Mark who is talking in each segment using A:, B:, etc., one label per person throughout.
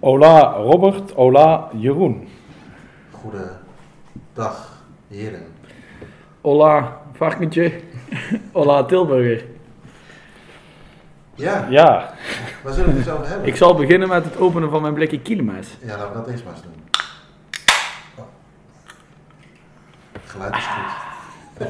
A: Ola Robert, ola Jeroen.
B: Goedendag, heren.
C: Hola, varkentje. Hola, Tilburger.
B: Ja,
A: Ja,
B: waar zullen we het dus over hebben?
C: Ik zal beginnen met het openen van mijn blikje kiloma's.
B: Ja, laten we dat eerst maar eens doen. Oh. Het Geluid is goed. Eh,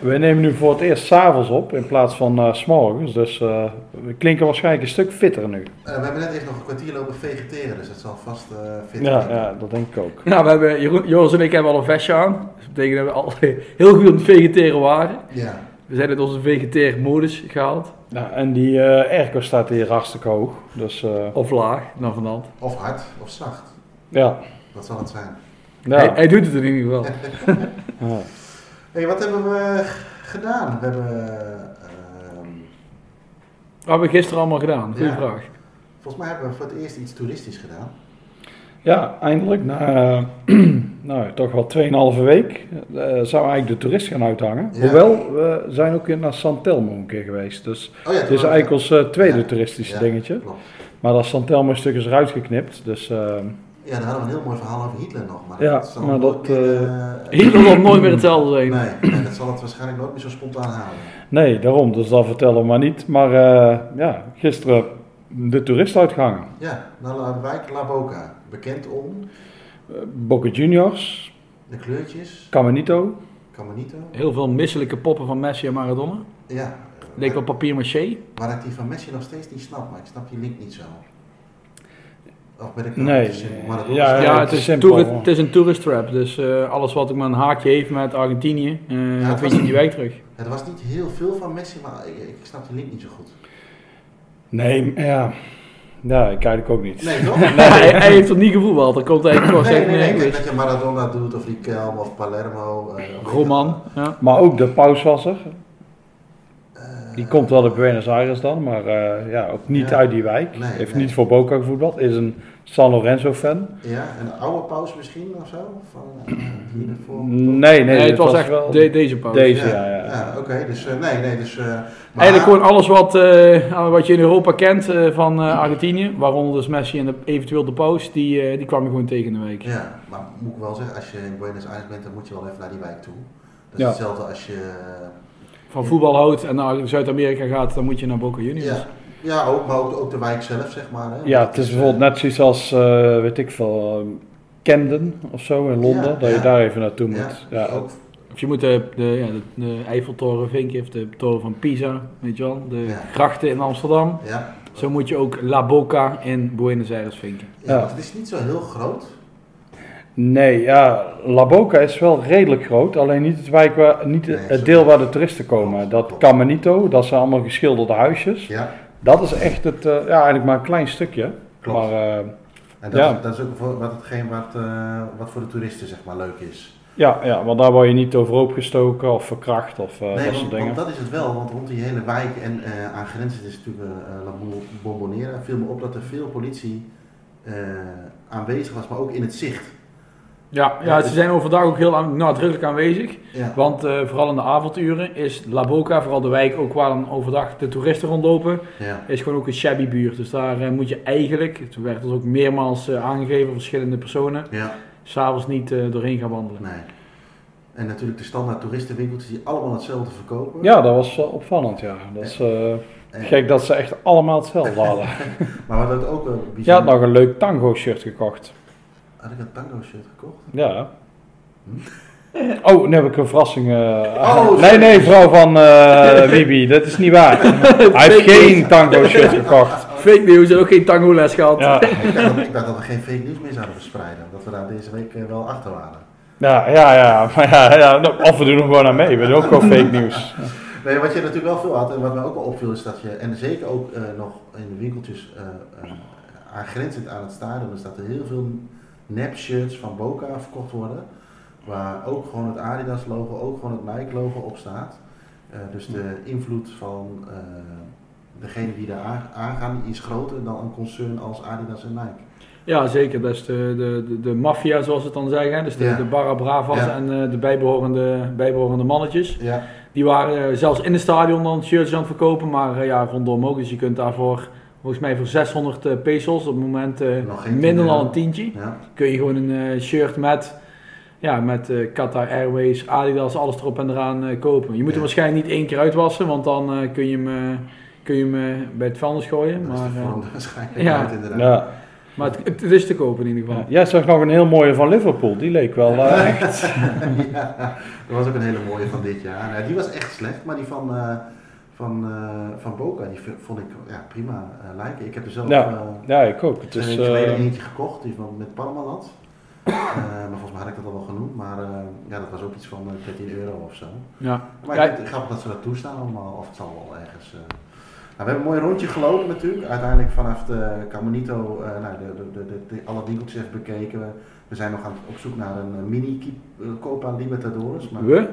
A: we nemen nu voor het eerst s'avonds op in plaats van eh, s s'morgens. Dus eh, we klinken waarschijnlijk een stuk fitter nu.
B: Eh, we hebben net even nog een kwartier lopen vegeteren, dus dat zal vast eh fit
A: Ja,
B: zijn.
A: ja, dat denk ik ook.
C: Nou, we hebben, Jeroen, Joris en ik hebben al een vestje aan. Dus dat betekent dat we al heel goed aan het vegeteren waren.
B: Ja.
C: We zijn uit onze vegeteermodus gehaald.
A: Nou, en die eh airco staat hier hartstikke hoog. Dus eh,
C: Of laag, dan van hand.
B: Of hard, of zacht.
A: ja.
B: Wat zal het zijn?
A: ja.
C: Hij, hij doet het in ieder geval.
A: Ja.
B: hey, wat hebben we g- gedaan? We hebben, ehm,
C: Wat hebben we gisteren allemaal gedaan? Goeie
B: Ja.
C: vraag.
B: volgens mij hebben we voor het eerst iets toeristisch gedaan.
A: Ja, eindelijk na eh, nou, toch wel 2,5 week eh, zou eigenlijk de toerist gaan uithangen.
B: Ja.
A: Hoewel, we zijn ook naar San Telmo een keer geweest. Dus
B: Oh ja,
A: het is eigenlijk ons eh, tweede toeristische
B: Ja,
A: dingetje.
B: klopt.
A: Maar dat San Telmo stuk is eruit geknipt. Dus eh,
B: Ja, daar hadden we een heel mooi verhaal over Hitler nog. Maar
A: Ja,
B: dat zal
A: maar
B: nooit
A: dat,
B: meer, eh,
C: Hitler wil nooit meer hetzelfde zijn.
B: Nee, nee, dat zal het waarschijnlijk nooit meer zo spontaan halen.
A: nee, daarom. Dus dat vertellen we maar niet. Maar eh, ja, gisteren de toerist uitgehangen.
B: Ja, naar La Wijk La Boca. Bekend om
A: Eh, Boca Juniors,
B: de kleurtjes,
A: Caminito.
B: Camonito.
C: Heel veel misselijke poppen van Messi en Maradona.
B: Ja, eh,
C: Leek wel papier maché.
B: waar ik die van Messi nog steeds niet snap, maar ik snap die link niet zo. Of ben ik nou
A: Nee,
B: te simpel? Maar dat
A: ja,
B: is-
C: Ja,
A: het
C: het,
A: is
C: is
A: simpel,
C: toeri-
A: hoor.
C: het is een tourist trap. Dus eh, alles wat ook maar een haakje heeft met Argentinië, eh
B: Ja,
C: dat vind je niet weg terug.
B: Het was niet heel veel van Messi, maar ik, ik snap die link niet zo goed.
A: Nee, ja. Ja, ik eigenlijk ook niet.
B: Nee, toch?
C: hij, hij heeft het niet gevoetbald. Dat komt eigenlijk gewoon
B: Nee,
C: echt
B: nee,
C: meer
B: nee. Kijk,
C: Engels.
B: dat je Maradona doet, of Riquelme, of Palermo. eh, of-
C: Roman. Ja.
A: Maar ook de paus was er.
B: Eh,
A: Die komt wel uit Buenos Aires dan, maar eh, ja, ook niet
B: Ja.
A: uit die wijk.
B: Nee,
A: Heeft
B: nee.
A: niet voor Boca gevoetbald. Is een San Lorenzo fan.
B: Eh, Ja, een oude paus misschien of zo? Van, eh, die ervoor-
A: Nee, nee,
C: Nee,
A: dit
C: het was echt
A: wel...
C: de- deze pauze.
A: Deze. ja, ja.
B: oké, dus eh, nee, nee, dus... eh, maar-
C: Eigenlijk gewoon alles wat, eh, aan wat je in Europa kent eh, van eh, Argentinië, waaronder dus Messi en de, eventueel de Paus, die, eh, die kwam je gewoon tegen in de week.
B: Ja, maar moet ik wel zeggen, als je in Buenos Aires bent, dan moet je wel even naar die wijk toe. Dat is
A: Ja.
B: hetzelfde als je... eh,
C: Van voetbal houdt en naar Zuid-Amerika gaat, dan moet je naar Boca Juniors.
B: Ja, ja ook, maar ook, ook de wijk zelf, zeg maar. Hè.
A: Ja, het is bijvoorbeeld net zoiets als, eh, weet ik veel, eh, Camden of zo in Londen,
B: Ja,
A: dat je
B: ja.
A: daar even naartoe
B: Ja,
A: moet. Ja,
B: ook.
C: Of je moet de, de, ja, de, de Eiffeltoren vinken, of de toren van Pisa, weet je wel, de
B: Ja.
C: grachten in Amsterdam.
B: Ja,
C: Zo moet je ook La Boca in Buenos Aires vinken.
B: ja,
A: Ja.
B: want het is niet zo heel groot.
A: Nee, ja, La Boca is wel redelijk groot, alleen niet het, wijk waar, niet
B: Nee,
A: het
B: zo-
A: deel waar de toeristen komen. Dat
B: klopt.
A: Caminito, dat zijn allemaal geschilderde huisjes.
B: Ja,
A: Dat is echt het, eh, ja, eigenlijk maar een klein stukje.
B: Klopt.
A: Maar eh,
B: en dat,
A: Ja.
B: is, dat is ook voor, wat hetgeen wat, eh, wat voor de toeristen, zeg maar, leuk is.
A: ja, ja, want daar word je niet overhoop gestoken of verkracht of eh,
B: nee,
A: dat
B: want,
A: soort
B: want
A: dingen.
B: dat is het wel, want rond die hele wijk en eh aan grenzen is natuurlijk eh, La Bombonera. viel me op dat er veel politie eh, aanwezig was, maar ook in het zicht.
C: Ja, ja, ze zijn overdag ook heel aan- nadrukkelijk aanwezig.
B: Ja.
C: Want eh, vooral in de avonduren is La Boca, vooral de wijk ook waar dan overdag de toeristen rondlopen,
B: ja.
C: is gewoon ook een shabby buurt. Dus daar eh, moet je eigenlijk, het werd ons ook meermaals eh, aangegeven, verschillende personen,
B: ja.
C: s'avonds niet eh, doorheen gaan wandelen.
B: Nee. En natuurlijk de standaard toeristenwinkeltjes die allemaal hetzelfde verkopen.
A: Ja, dat was wel opvallend, ja. Dat is eh,
B: En-
A: gek dat ze echt allemaal hetzelfde hadden.
B: Maar wat ook wel
A: Je had
B: bijzonder...
A: nog een leuk tango shirt gekocht.
B: Had ik een tango shirt gekocht?
A: Ja. Oh, nu heb ik een verrassing. eh,
B: Hm? Oh,
A: nee,
B: sorry.
A: nee, vrouw van eh Bibi, dat is niet waar. Hij heeft geen tango shirt gekocht.
C: Fake news, er ook geen tango les gehad.
A: Ja.
B: ik, dacht dat, ik dacht dat we geen fake nieuws meer zouden verspreiden. Omdat we daar deze week eh, wel achter waren.
A: Ja, ja, ja. Maar ja, ja, nou, of we doen er gewoon aan mee. We doen ook gewoon fake nieuws.
B: Nee, wat je natuurlijk wel veel had en wat mij ook al opviel is dat je, en zeker ook eh, nog in de winkeltjes eh, eh, aangrenzend aan het stadion, is dat er heel veel nep-shirts van Boca verkocht worden. Waar ook gewoon het Adidas logo, ook gewoon het Nike logo op staat. Eh, dus de invloed van eh, degene die daar aan- aangaan die is groter dan een concern als Adidas en Nike.
C: Ja, zeker. Dat is de, de, de, de maffia, zoals ze het dan zeggen. hè. Dus de,
B: Ja.
C: de Barra Bravas
B: Ja.
C: en eh, de bijbehorende, bijbehorende mannetjes.
B: Ja,
C: Die waren eh, zelfs in het stadion dan shirts aan het verkopen. Maar eh, ja, rondom ook. Dus je kunt daarvoor, volgens mij voor 600 eh, pesos, op het moment eh,
B: Nog geen
C: minder
B: tientje,
C: dan
B: ja.
C: een tientje,
B: ja.
C: kun je gewoon een eh, shirt met, ja, met eh, Qatar Airways, Adidas, alles erop en eraan eh, kopen. Je moet
B: Ja.
C: hem waarschijnlijk niet één keer uitwassen, want dan eh, kun je hem, eh, kun je hem eh, bij het vuilnis gooien.
B: dat is
C: Maar,
B: de
C: eh,
B: vorm waarschijnlijk
C: ja.
B: uit inderdaad.
A: Ja.
C: maar het, het is te kopen in ieder geval.
A: Ja. Jij zag nog een heel mooie van Liverpool. Die leek wel eh, echt.
B: ja, dat was ook een hele mooie van dit jaar. Nou, die was echt slecht, maar die van, eh, van, eh, van Boca, die v- vond ik ja, prima eh, lijken. Ik heb er zelf
A: Ja,
B: eh,
A: Ja, ik ook. Het
B: twee
A: is,
B: weken geleden
A: eh,
B: eentje gekocht, die van met Parmalat. Eh, maar volgens mij had ik dat al wel genoemd, maar eh, ja, dat was ook iets van eh, 13 euro of zo.
C: Ja.
B: Maar
C: Ja.
B: ik vind het grappig dat ze dat toestaan allemaal, of het zal wel ergens... eh. Nou, we hebben een mooi rondje gelopen natuurlijk. Uiteindelijk vanaf de Camonito eh, nou, de, de, de, de- de- alle winkeltjes even bekeken. We, we zijn nog aan, op zoek naar een eh, mini Ki- eh, Copa Libertadores. Maar,
C: We?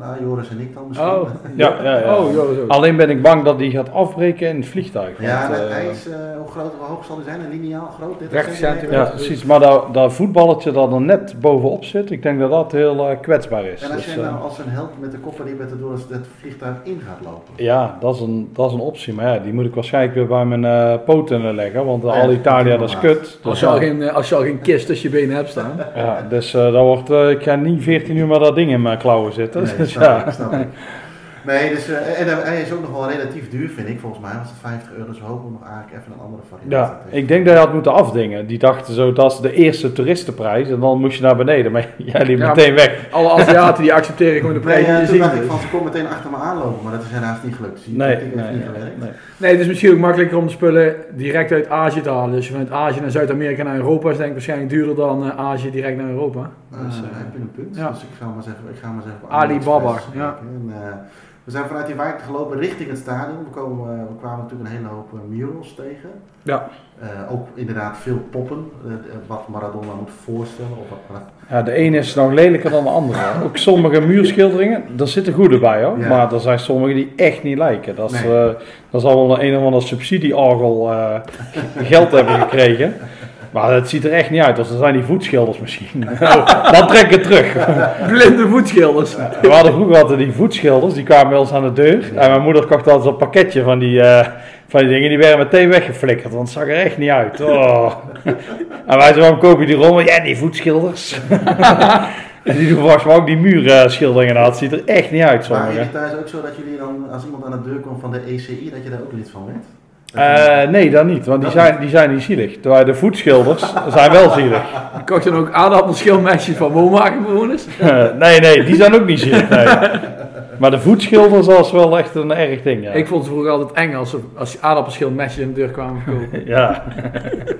B: Nou, Joris en ik dan misschien.
C: Oh,
A: Ja, ja, ja.
C: Oh, zo, zo.
A: Alleen ben ik bang dat die gaat afbreken in het vliegtuig.
B: Ja,
A: want,
B: de
A: eh,
B: ijs, eh, hoe groot, hoe hoog zal die zijn? Een lineaal groot? 30
C: 30
B: centimeter?
A: eh, ja, precies. Maar dat, dat voetballetje dat er net bovenop zit, ik denk dat dat heel eh, kwetsbaar is.
B: En als
A: Dus,
B: jij
A: eh,
B: nou als een held met de Copa Libertadores het vliegtuig in gaat lopen?
A: ja, dat is, een, dat is een optie. Maar ja, die moet ik waarschijnlijk weer bij mijn eh poten leggen. Want
B: Ja,
A: al Italia,
B: dat
A: dat
B: is
A: is
B: normaal.
A: kut.
C: Als
A: Dus,
C: je, al
A: ja,
C: geen, eh, als je al geen kist tussen je benen hebt staan.
A: ja, dus eh, dat wordt, eh, ik ga niet 14 uur met dat ding in mijn klauwen zitten.
B: Nee,
A: dus,
B: snap
A: ja.
B: ik, snap ik. Nee, dus, eh, en eh, hij is ook nog wel relatief duur, vind ik. Volgens mij was het 50 euro, dus we hopen nog eigenlijk even een andere variant.
A: Ja,
B: te
A: ik denk dat je had moeten afdingen. Die dachten zo, dat is de eerste toeristenprijs en dan moest je naar beneden. Maar jij liep
C: Ja,
A: meteen weg.
C: Alle Aziaten die accepteren gewoon de
B: Nee,
C: prijs
B: ja,
C: die
B: toen
C: ze
B: dacht
C: zien.
B: ik van ze komen meteen achter me aanlopen, maar dat is helaas niet gelukt. Dus die
A: Nee,
B: tactiek
A: nee,
B: heeft niet
A: nee,
B: gewerkt.
A: nee.
C: Nee, het is misschien ook makkelijker om de spullen direct uit Azië te halen. Dus vanuit Azië naar Zuid-Amerika naar Europa is denk ik waarschijnlijk duurder dan eh, Azië direct naar Europa.
B: Eh,
C: Dus, eh,
B: heb je een punt?
C: ja.
B: Dus ik ga maar eens even, ik ga maar eens even op
C: Alibaba,
B: AliExpress
C: ja.
B: kijken. En, eh, we zijn vanuit die wijk gelopen richting het stadion. We, komen, eh, we kwamen natuurlijk een hele hoop eh, murals tegen.
C: Ja.
B: Eh, ook inderdaad veel poppen, eh, eh, wat Maradona moet voorstellen. Of wat Maradona-
A: Ja, de ene is nog lelijker dan de andere. Ook sommige muurschilderingen, daar zitten goede bij hoor.
B: Ja.
A: Maar er zijn sommige die echt niet lijken. Dat is,
B: Nee.
A: eh, dat is allemaal een of ander subsidieorgel eh geld hebben gekregen. Maar het ziet er echt niet uit. Als er zijn die voetschilders misschien. Nou, dan trek ik het terug.
C: Blinde voetschilders.
A: We hadden vroeger altijd die voetschilders, die kwamen bij ons aan de deur. En mijn moeder kocht altijd zo'n pakketje van die, eh, van die dingen. Die werden meteen weggeflikkerd, want het zag er echt niet uit. Oh. En wij zeiden, waarom koop je die rommel? Ja, die voetschilders. En die doen volgens mij ook die muurschilderingen aan. Het ziet er echt niet uit,
B: Waren
A: sommigen.
B: jullie thuis ook zo dat jullie dan, als iemand aan de deur kwam van de ECI, dat je daar ook lid van werd? Dat je-
A: Eh, nee, dat niet, want die zijn, die zijn niet zielig. Terwijl de voetschilders zijn wel zielig.
C: Ik kocht dan ook aardappelschilmesjes van woonwagenbewoners.
A: nee, nee, die zijn ook niet zielig. Nee. Maar de voetschilders, dat is wel echt een erg ding. Ja.
C: Ik vond het vroeger altijd eng als, ze- als aardappelschilmesjes in de deur kwamen verkopen.
A: Ja.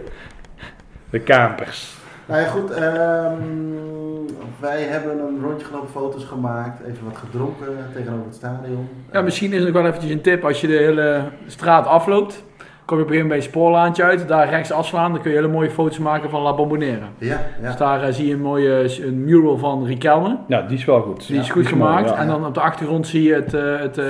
A: De kampers.
B: Nou ja, goed. ehm, wij hebben een rondje gelopen, foto's gemaakt, even wat gedronken tegenover het stadion. Eh,
C: Ja, misschien is het ook wel eventjes een tip. Als je de hele straat afloopt, kom je op een gegeven moment bij een spoorlaantje uit. Daar rechts afslaan, dan kun je hele mooie foto's maken van La Bombonera.
B: Ja, ja.
C: Dus daar eh, zie je een mooie eh, een mural van Riquelme.
A: Ja, Nou, die is wel goed.
C: Die
A: Ja,
C: is goed
A: mooi,
C: gemaakt.
A: ja.
C: En dan op de achtergrond zie je het, eh, het, eh,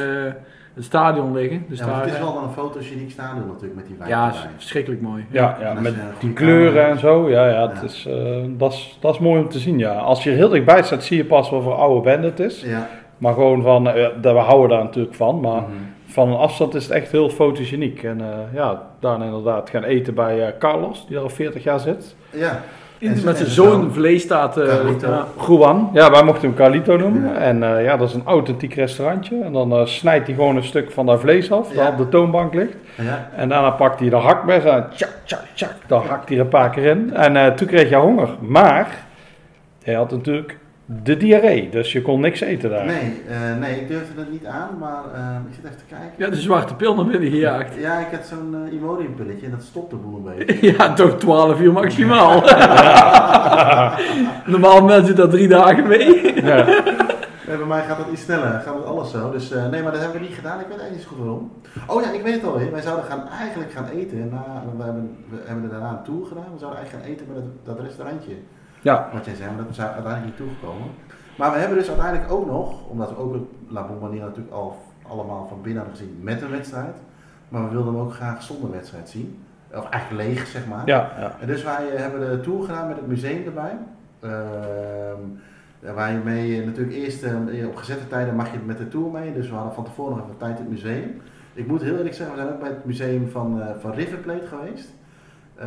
C: het stadion liggen. Dus
B: Ja, want
C: daar,
B: het is
C: eh,
B: wel dan een fotogeniek stadion natuurlijk met die wijk
C: ja,
B: erbij.
C: is verschrikkelijk mooi.
A: Ja, ja,
B: Dat is,
A: met
B: eh, goede
A: die kleuren
B: camera.
A: en zo. Ja, ja, het
B: Ja.
A: Is, eh, dat, is, dat is mooi om te zien. Ja. Als je er heel dichtbij staat, zie je pas wat voor oude band het is.
B: Ja.
A: Maar gewoon van, eh, dat we houden daar natuurlijk van. Maar
B: Mhm.
A: van een afstand is het echt heel fotogeniek. En eh, ja, daarna inderdaad gaan eten bij eh, Carlos, die daar al 40 jaar zit.
B: ja.
C: In-
B: En-
C: Met
B: en
C: zijn
B: zo-
C: zo'n vleesstaat. eh,
B: Carlito.
C: ja.
A: Juan, ja, wij mochten hem Carlito noemen.
B: Ja.
A: En eh, ja, dat is een authentiek restaurantje. En dan eh, snijdt hij gewoon een stuk van dat vlees af,
B: Ja.
A: dat op de toonbank ligt.
B: Ja.
A: En daarna pakt hij de hakmes en tjak, tjak, tjak. Dan hakt hij er een paar keer in. En eh, toen kreeg je honger. Maar hij had natuurlijk de diarree. Dus je kon niks eten daar.
B: Nee, eh, nee, ik durfde dat niet aan, maar eh, ik zit even te kijken.
C: Je hebt de zwarte pil naar binnen gejaagd.
B: Ja, ik had zo'n eh, Imodium-pilletje en dat stopt de boel een beetje.
C: Ja, toch 12 uur maximaal. Normaal meldt je dat drie dagen mee.
A: Ja.
B: Nee, bij mij gaat dat iets sneller, gaat dat alles zo. Dus eh, nee, maar dat hebben we niet gedaan. Ik weet eigenlijk niet zo goed waarom. Oh ja, ik weet het alweer. Wij zouden gaan, eigenlijk gaan eten. Na, want we, hebben, we hebben er daarna een tour gedaan. We zouden eigenlijk gaan eten bij dat, dat restaurantje.
A: Ja.
B: Wat jij zei, maar dat is uiteindelijk niet toegekomen. Maar we hebben dus uiteindelijk ook nog, omdat we ook het La Bombonera natuurlijk al allemaal van binnen hadden gezien met een wedstrijd. Maar we wilden hem ook graag zonder wedstrijd zien. Of eigenlijk leeg, zeg maar.
A: Ja, ja.
B: En dus wij eh, hebben de tour gedaan met het museum erbij. Ehm waar je mee eh, natuurlijk eerst eh, op gezette tijden mag je met de tour mee. Dus we hadden van tevoren nog even tijd in het museum. Ik moet heel eerlijk zeggen, we zijn ook bij het museum van, eh, van River Plate geweest. Eh,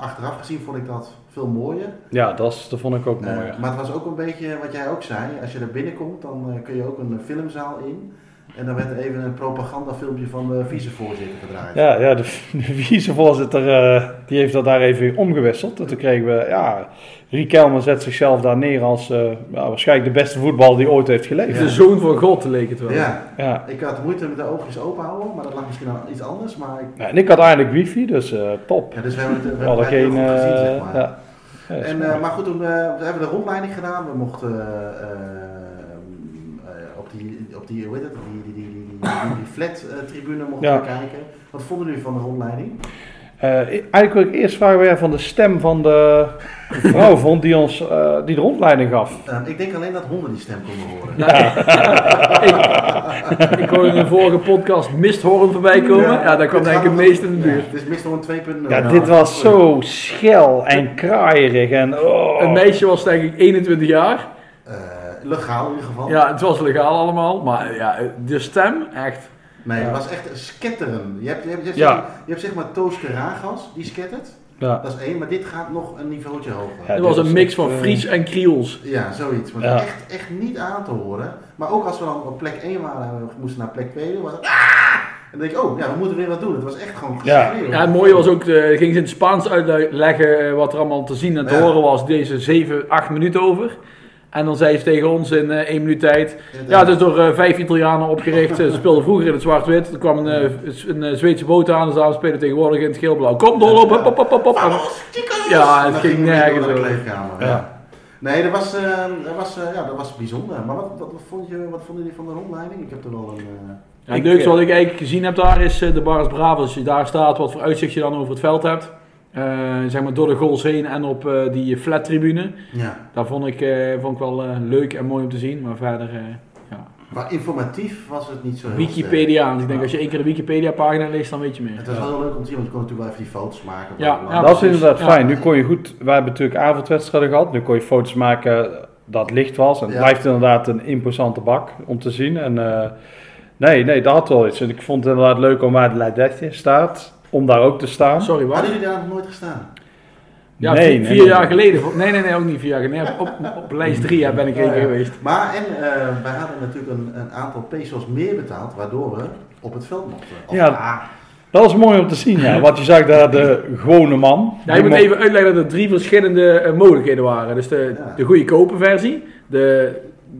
B: achteraf gezien vond ik dat veel mooier.
A: Ja, dat, is, dat vond ik ook
B: Eh,
A: mooi.
B: maar het was ook een beetje wat jij ook zei. Als je er binnenkomt, dan eh, kun je ook een eh, filmzaal in. En dan werd er even een propagandafilmpje van de vicevoorzitter gedraaid.
A: Ja, ja de, de vicevoorzitter eh, die heeft dat daar even omgewisseld. En toen kregen we, ja, Riquelme zet zichzelf daar neer als eh, ja, waarschijnlijk de beste voetballer die ooit heeft geleefd.
C: De zoon van God leek het wel.
B: ja.
A: Ja.
B: Ik had moeite met de oogjes open houden, maar dat lag misschien aan iets anders. Maar ik,
A: Ja, En ik had eigenlijk wifi, dus eh, top.
B: ja, dus we hebben het, we
A: We hadden
B: hebben het heel
A: geen...
B: goed gezien,
A: eh,
B: zeg maar.
A: ja. Ja, dat is
B: en,
A: mooi.
B: eh, maar goed, toen, eh, we hebben de rondleiding gedaan. We mochten eh, eh, op die, op die, hoe heet het, die, die, die, die, die, die- die flat eh, tribune mochten
A: Ja.
B: we kijken. Wat vonden jullie van de rondleiding?
A: Eh, eigenlijk wil ik eerst vragen weer van de stem van de vrouw vond die ons eh, die de rondleiding gaf.
B: Eh, ik denk alleen dat honden die stem konden horen.
C: Nou, ik, ik hoorde in de vorige podcast Misthoorn voorbij komen. Ja, daar kwam
B: dit
C: eigenlijk
B: gaat
C: het meest in de
B: ja,
C: buurt.
B: Het is meestal een eh, 2.0.
A: Ja, dit was zo schel en kraaierig en oh.
C: Een meisje was denk ik 21 jaar.
B: Eh, legaal in ieder geval.
C: Ja, het was legaal allemaal. Maar ja, de stem, echt.
B: Nee, het was echt sketteren. Je hebt, je hebt, je hebt,
A: Ja.
B: je hebt zeg maar Toos Keragas, die skettert.
A: Ja.
B: Dat is één, maar dit gaat nog een niveautje hoger.
A: Ja,
B: Ja,
C: Het was
A: dit
C: een
A: was
C: mix van
A: echt, eh,
C: Fries en Kriols.
B: zoiets. Maar
A: Ja.
B: echt, echt niet aan te horen. Maar ook als we dan op plek 1 waren en we moesten naar plek 2, was het... "Ah!" En dan denk ik, oh, ja, we moeten weer wat doen. Het was echt gewoon
A: Ja.
B: geschreeuw.
C: Ja, het mooie was ook, eh ging ze in het Spaans uitleggen eh, wat er allemaal te zien en te
B: Ja.
C: horen was. Deze 7, 8 minuten over. En dan zei ze tegen ons in eh 1 minuut tijd. Ja,
B: Inderdaad.
C: het is door eh, vijf Italianen opgericht. Ze speelden vroeger in het zwart-wit. Er kwam een, eh, Z- een eh, Zweedse boot aan. Ze spelen tegenwoordig in het geel-blauw. Kom doorlopen, hop, hop, hop, hop, hop. En-
B: Vamos, chicos!
C: Ja,
B: Oh, En
C: het
B: dan
C: ging
B: gingen we weer door naar
C: nergens
B: de
C: over.
B: kleedkamer. Ja. Nee, dat was, eh, dat, was, eh, ja, dat was bijzonder. Maar wat, wat, wat, vond je, wat vonden jullie van de rondleiding? Ik heb er wel een... eh,
C: Ja, het
A: Ik,
C: leukste
A: eh,
C: wat ik eigenlijk gezien heb daar is eh, de Barres Bravo. Als je daar staat, wat voor uitzicht je dan over het veld hebt. Eh, zeg maar door de goals heen en op eh, die flat tribune.
B: ja.
C: Dat vond ik, eh, vond ik wel eh, leuk en mooi om te zien. Maar verder, eh,
B: Maar informatief was het niet zo heel sterk.
A: eh,
C: Wikipedia. Dus ik
A: nou.
C: denk als je één keer de Wikipedia pagina leest, dan weet je meer.
B: Het was wel heel leuk om te zien, want je kon natuurlijk wel even die foto's maken. bla,
C: Ja,
B: bla,
C: ja,
B: bla.
A: Dat is inderdaad
C: Ja.
A: fijn. Nu kon je goed, wij hebben natuurlijk avondwedstrijden gehad. Nu kon je foto's maken dat licht was. En het
B: Ja.
A: blijft inderdaad een imposante bak om te zien. En, eh, nee, nee, dat had wel iets. En ik vond het inderdaad leuk om waar de Leidetje staat. Om daar ook te staan.
C: Sorry, waar?
B: Hadden jullie daar nog nooit gestaan?
C: Ja,
A: Nee,
C: vier,
A: nee,
C: vier
A: nee.
C: jaar geleden. vo- Nee, nee, nee, ook niet vier jaar geleden. Nee, Op, op, op lijst drie jaar ben ik één keer geweest.
B: Maar en eh, wij hadden natuurlijk een, een aantal pesos meer betaald, waardoor we op het veld mochten. Of,
A: Ja.
B: ah,
A: Dat was mooi om te zien, ja. Want je zag daar de gewone man.
C: Ja, je moet
A: Die mo-
C: even uitleggen dat er drie verschillende eh, mogelijkheden waren. Dus de,
B: Ja.
C: de goedkope versie, de,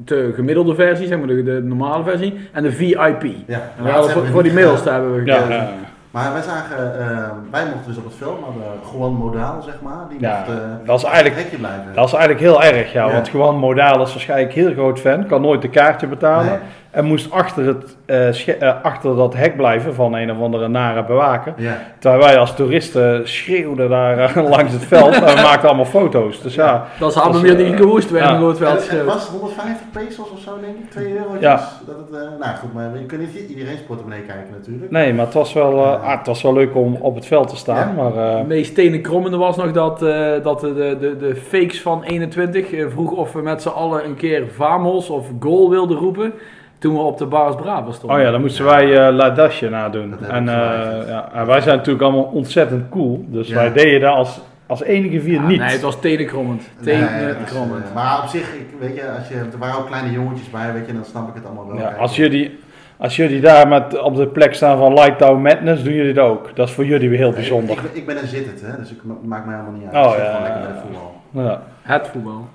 C: de gemiddelde versie, zeg maar de, de normale versie, en de VIP.
B: ja.
C: En we hadden voor, voor die middelste hebben we
A: Ja,
C: gekozen.
A: ja.
B: Maar wij zagen, eh, wij mochten dus op het veld, maar de Juan Modaal, zeg maar, die
A: Ja,
B: mocht eh,
A: dat is
B: op
A: eigenlijk-
B: het hekje blijven.
A: Dat is eigenlijk heel erg, ja.
B: Ja.
A: Want gewoon Modaal is waarschijnlijk heel groot fan. Kan nooit een kaartje betalen.
B: Nee.
A: En moest achter, het, eh, sche- eh, achter dat hek blijven van een of andere nare bewaker.
B: Ja.
A: Terwijl wij als toeristen schreeuwden daar eh, langs het veld en we maakten allemaal foto's. Dus ja,
C: Dat is hadden
A: Dat
C: we
A: is,
C: weer die
A: eh,
C: gewoest werden
A: ja.
C: door het
B: En
C: veld.
B: het, het was 150 pesos of zo, denk ik, 2 euro.
A: Ja.
B: Dat het, eh, nou goed, maar je kunt niet iedereen's portemonnee kijken natuurlijk.
A: nee, maar het was wel, eh, ah, het was wel leuk om op het veld te staan.
B: Ja.
A: Maar eh,
C: Het meest tenenkrommende was nog dat, eh, dat de, de, de, de fakes van 21 eh, vroeg of we met z'n allen een keer Vamos of Goal wilden roepen. Toen we op de Baris Bravo stonden.
A: oh ja, dan moesten wij eh La Dasje nadoen.
B: Dat heb ik
A: En, eh,
B: geluisterd.
A: ja, en wij zijn natuurlijk allemaal ontzettend cool. Dus
B: Ja.
A: wij deden dat als, als enige vier
C: Ah,
A: niet.
C: Nee, het was tenenkrommend.
B: Nee, dat is, eh,
C: Tenenkrommend.
B: maar op zich, ik, weet je, als je, er waren ook kleine jongetjes bij, weet je, dan snap ik het allemaal wel.
A: Ja,
B: Kijk,
A: als, jullie, als jullie daar met, op de plek staan van Lighttown Madness, doen jullie dat ook. Dat is voor jullie weer heel
B: Nee,
A: bijzonder.
B: Ik, ik, ben een zittend, hè, dus ik ma- maakt mij helemaal niet uit.
A: Oh,
B: ik zit
A: ja,
B: gewoon
A: ja,
B: lekker bij
A: ja.
B: de voetbal.
A: Ja.
C: Het voetbal.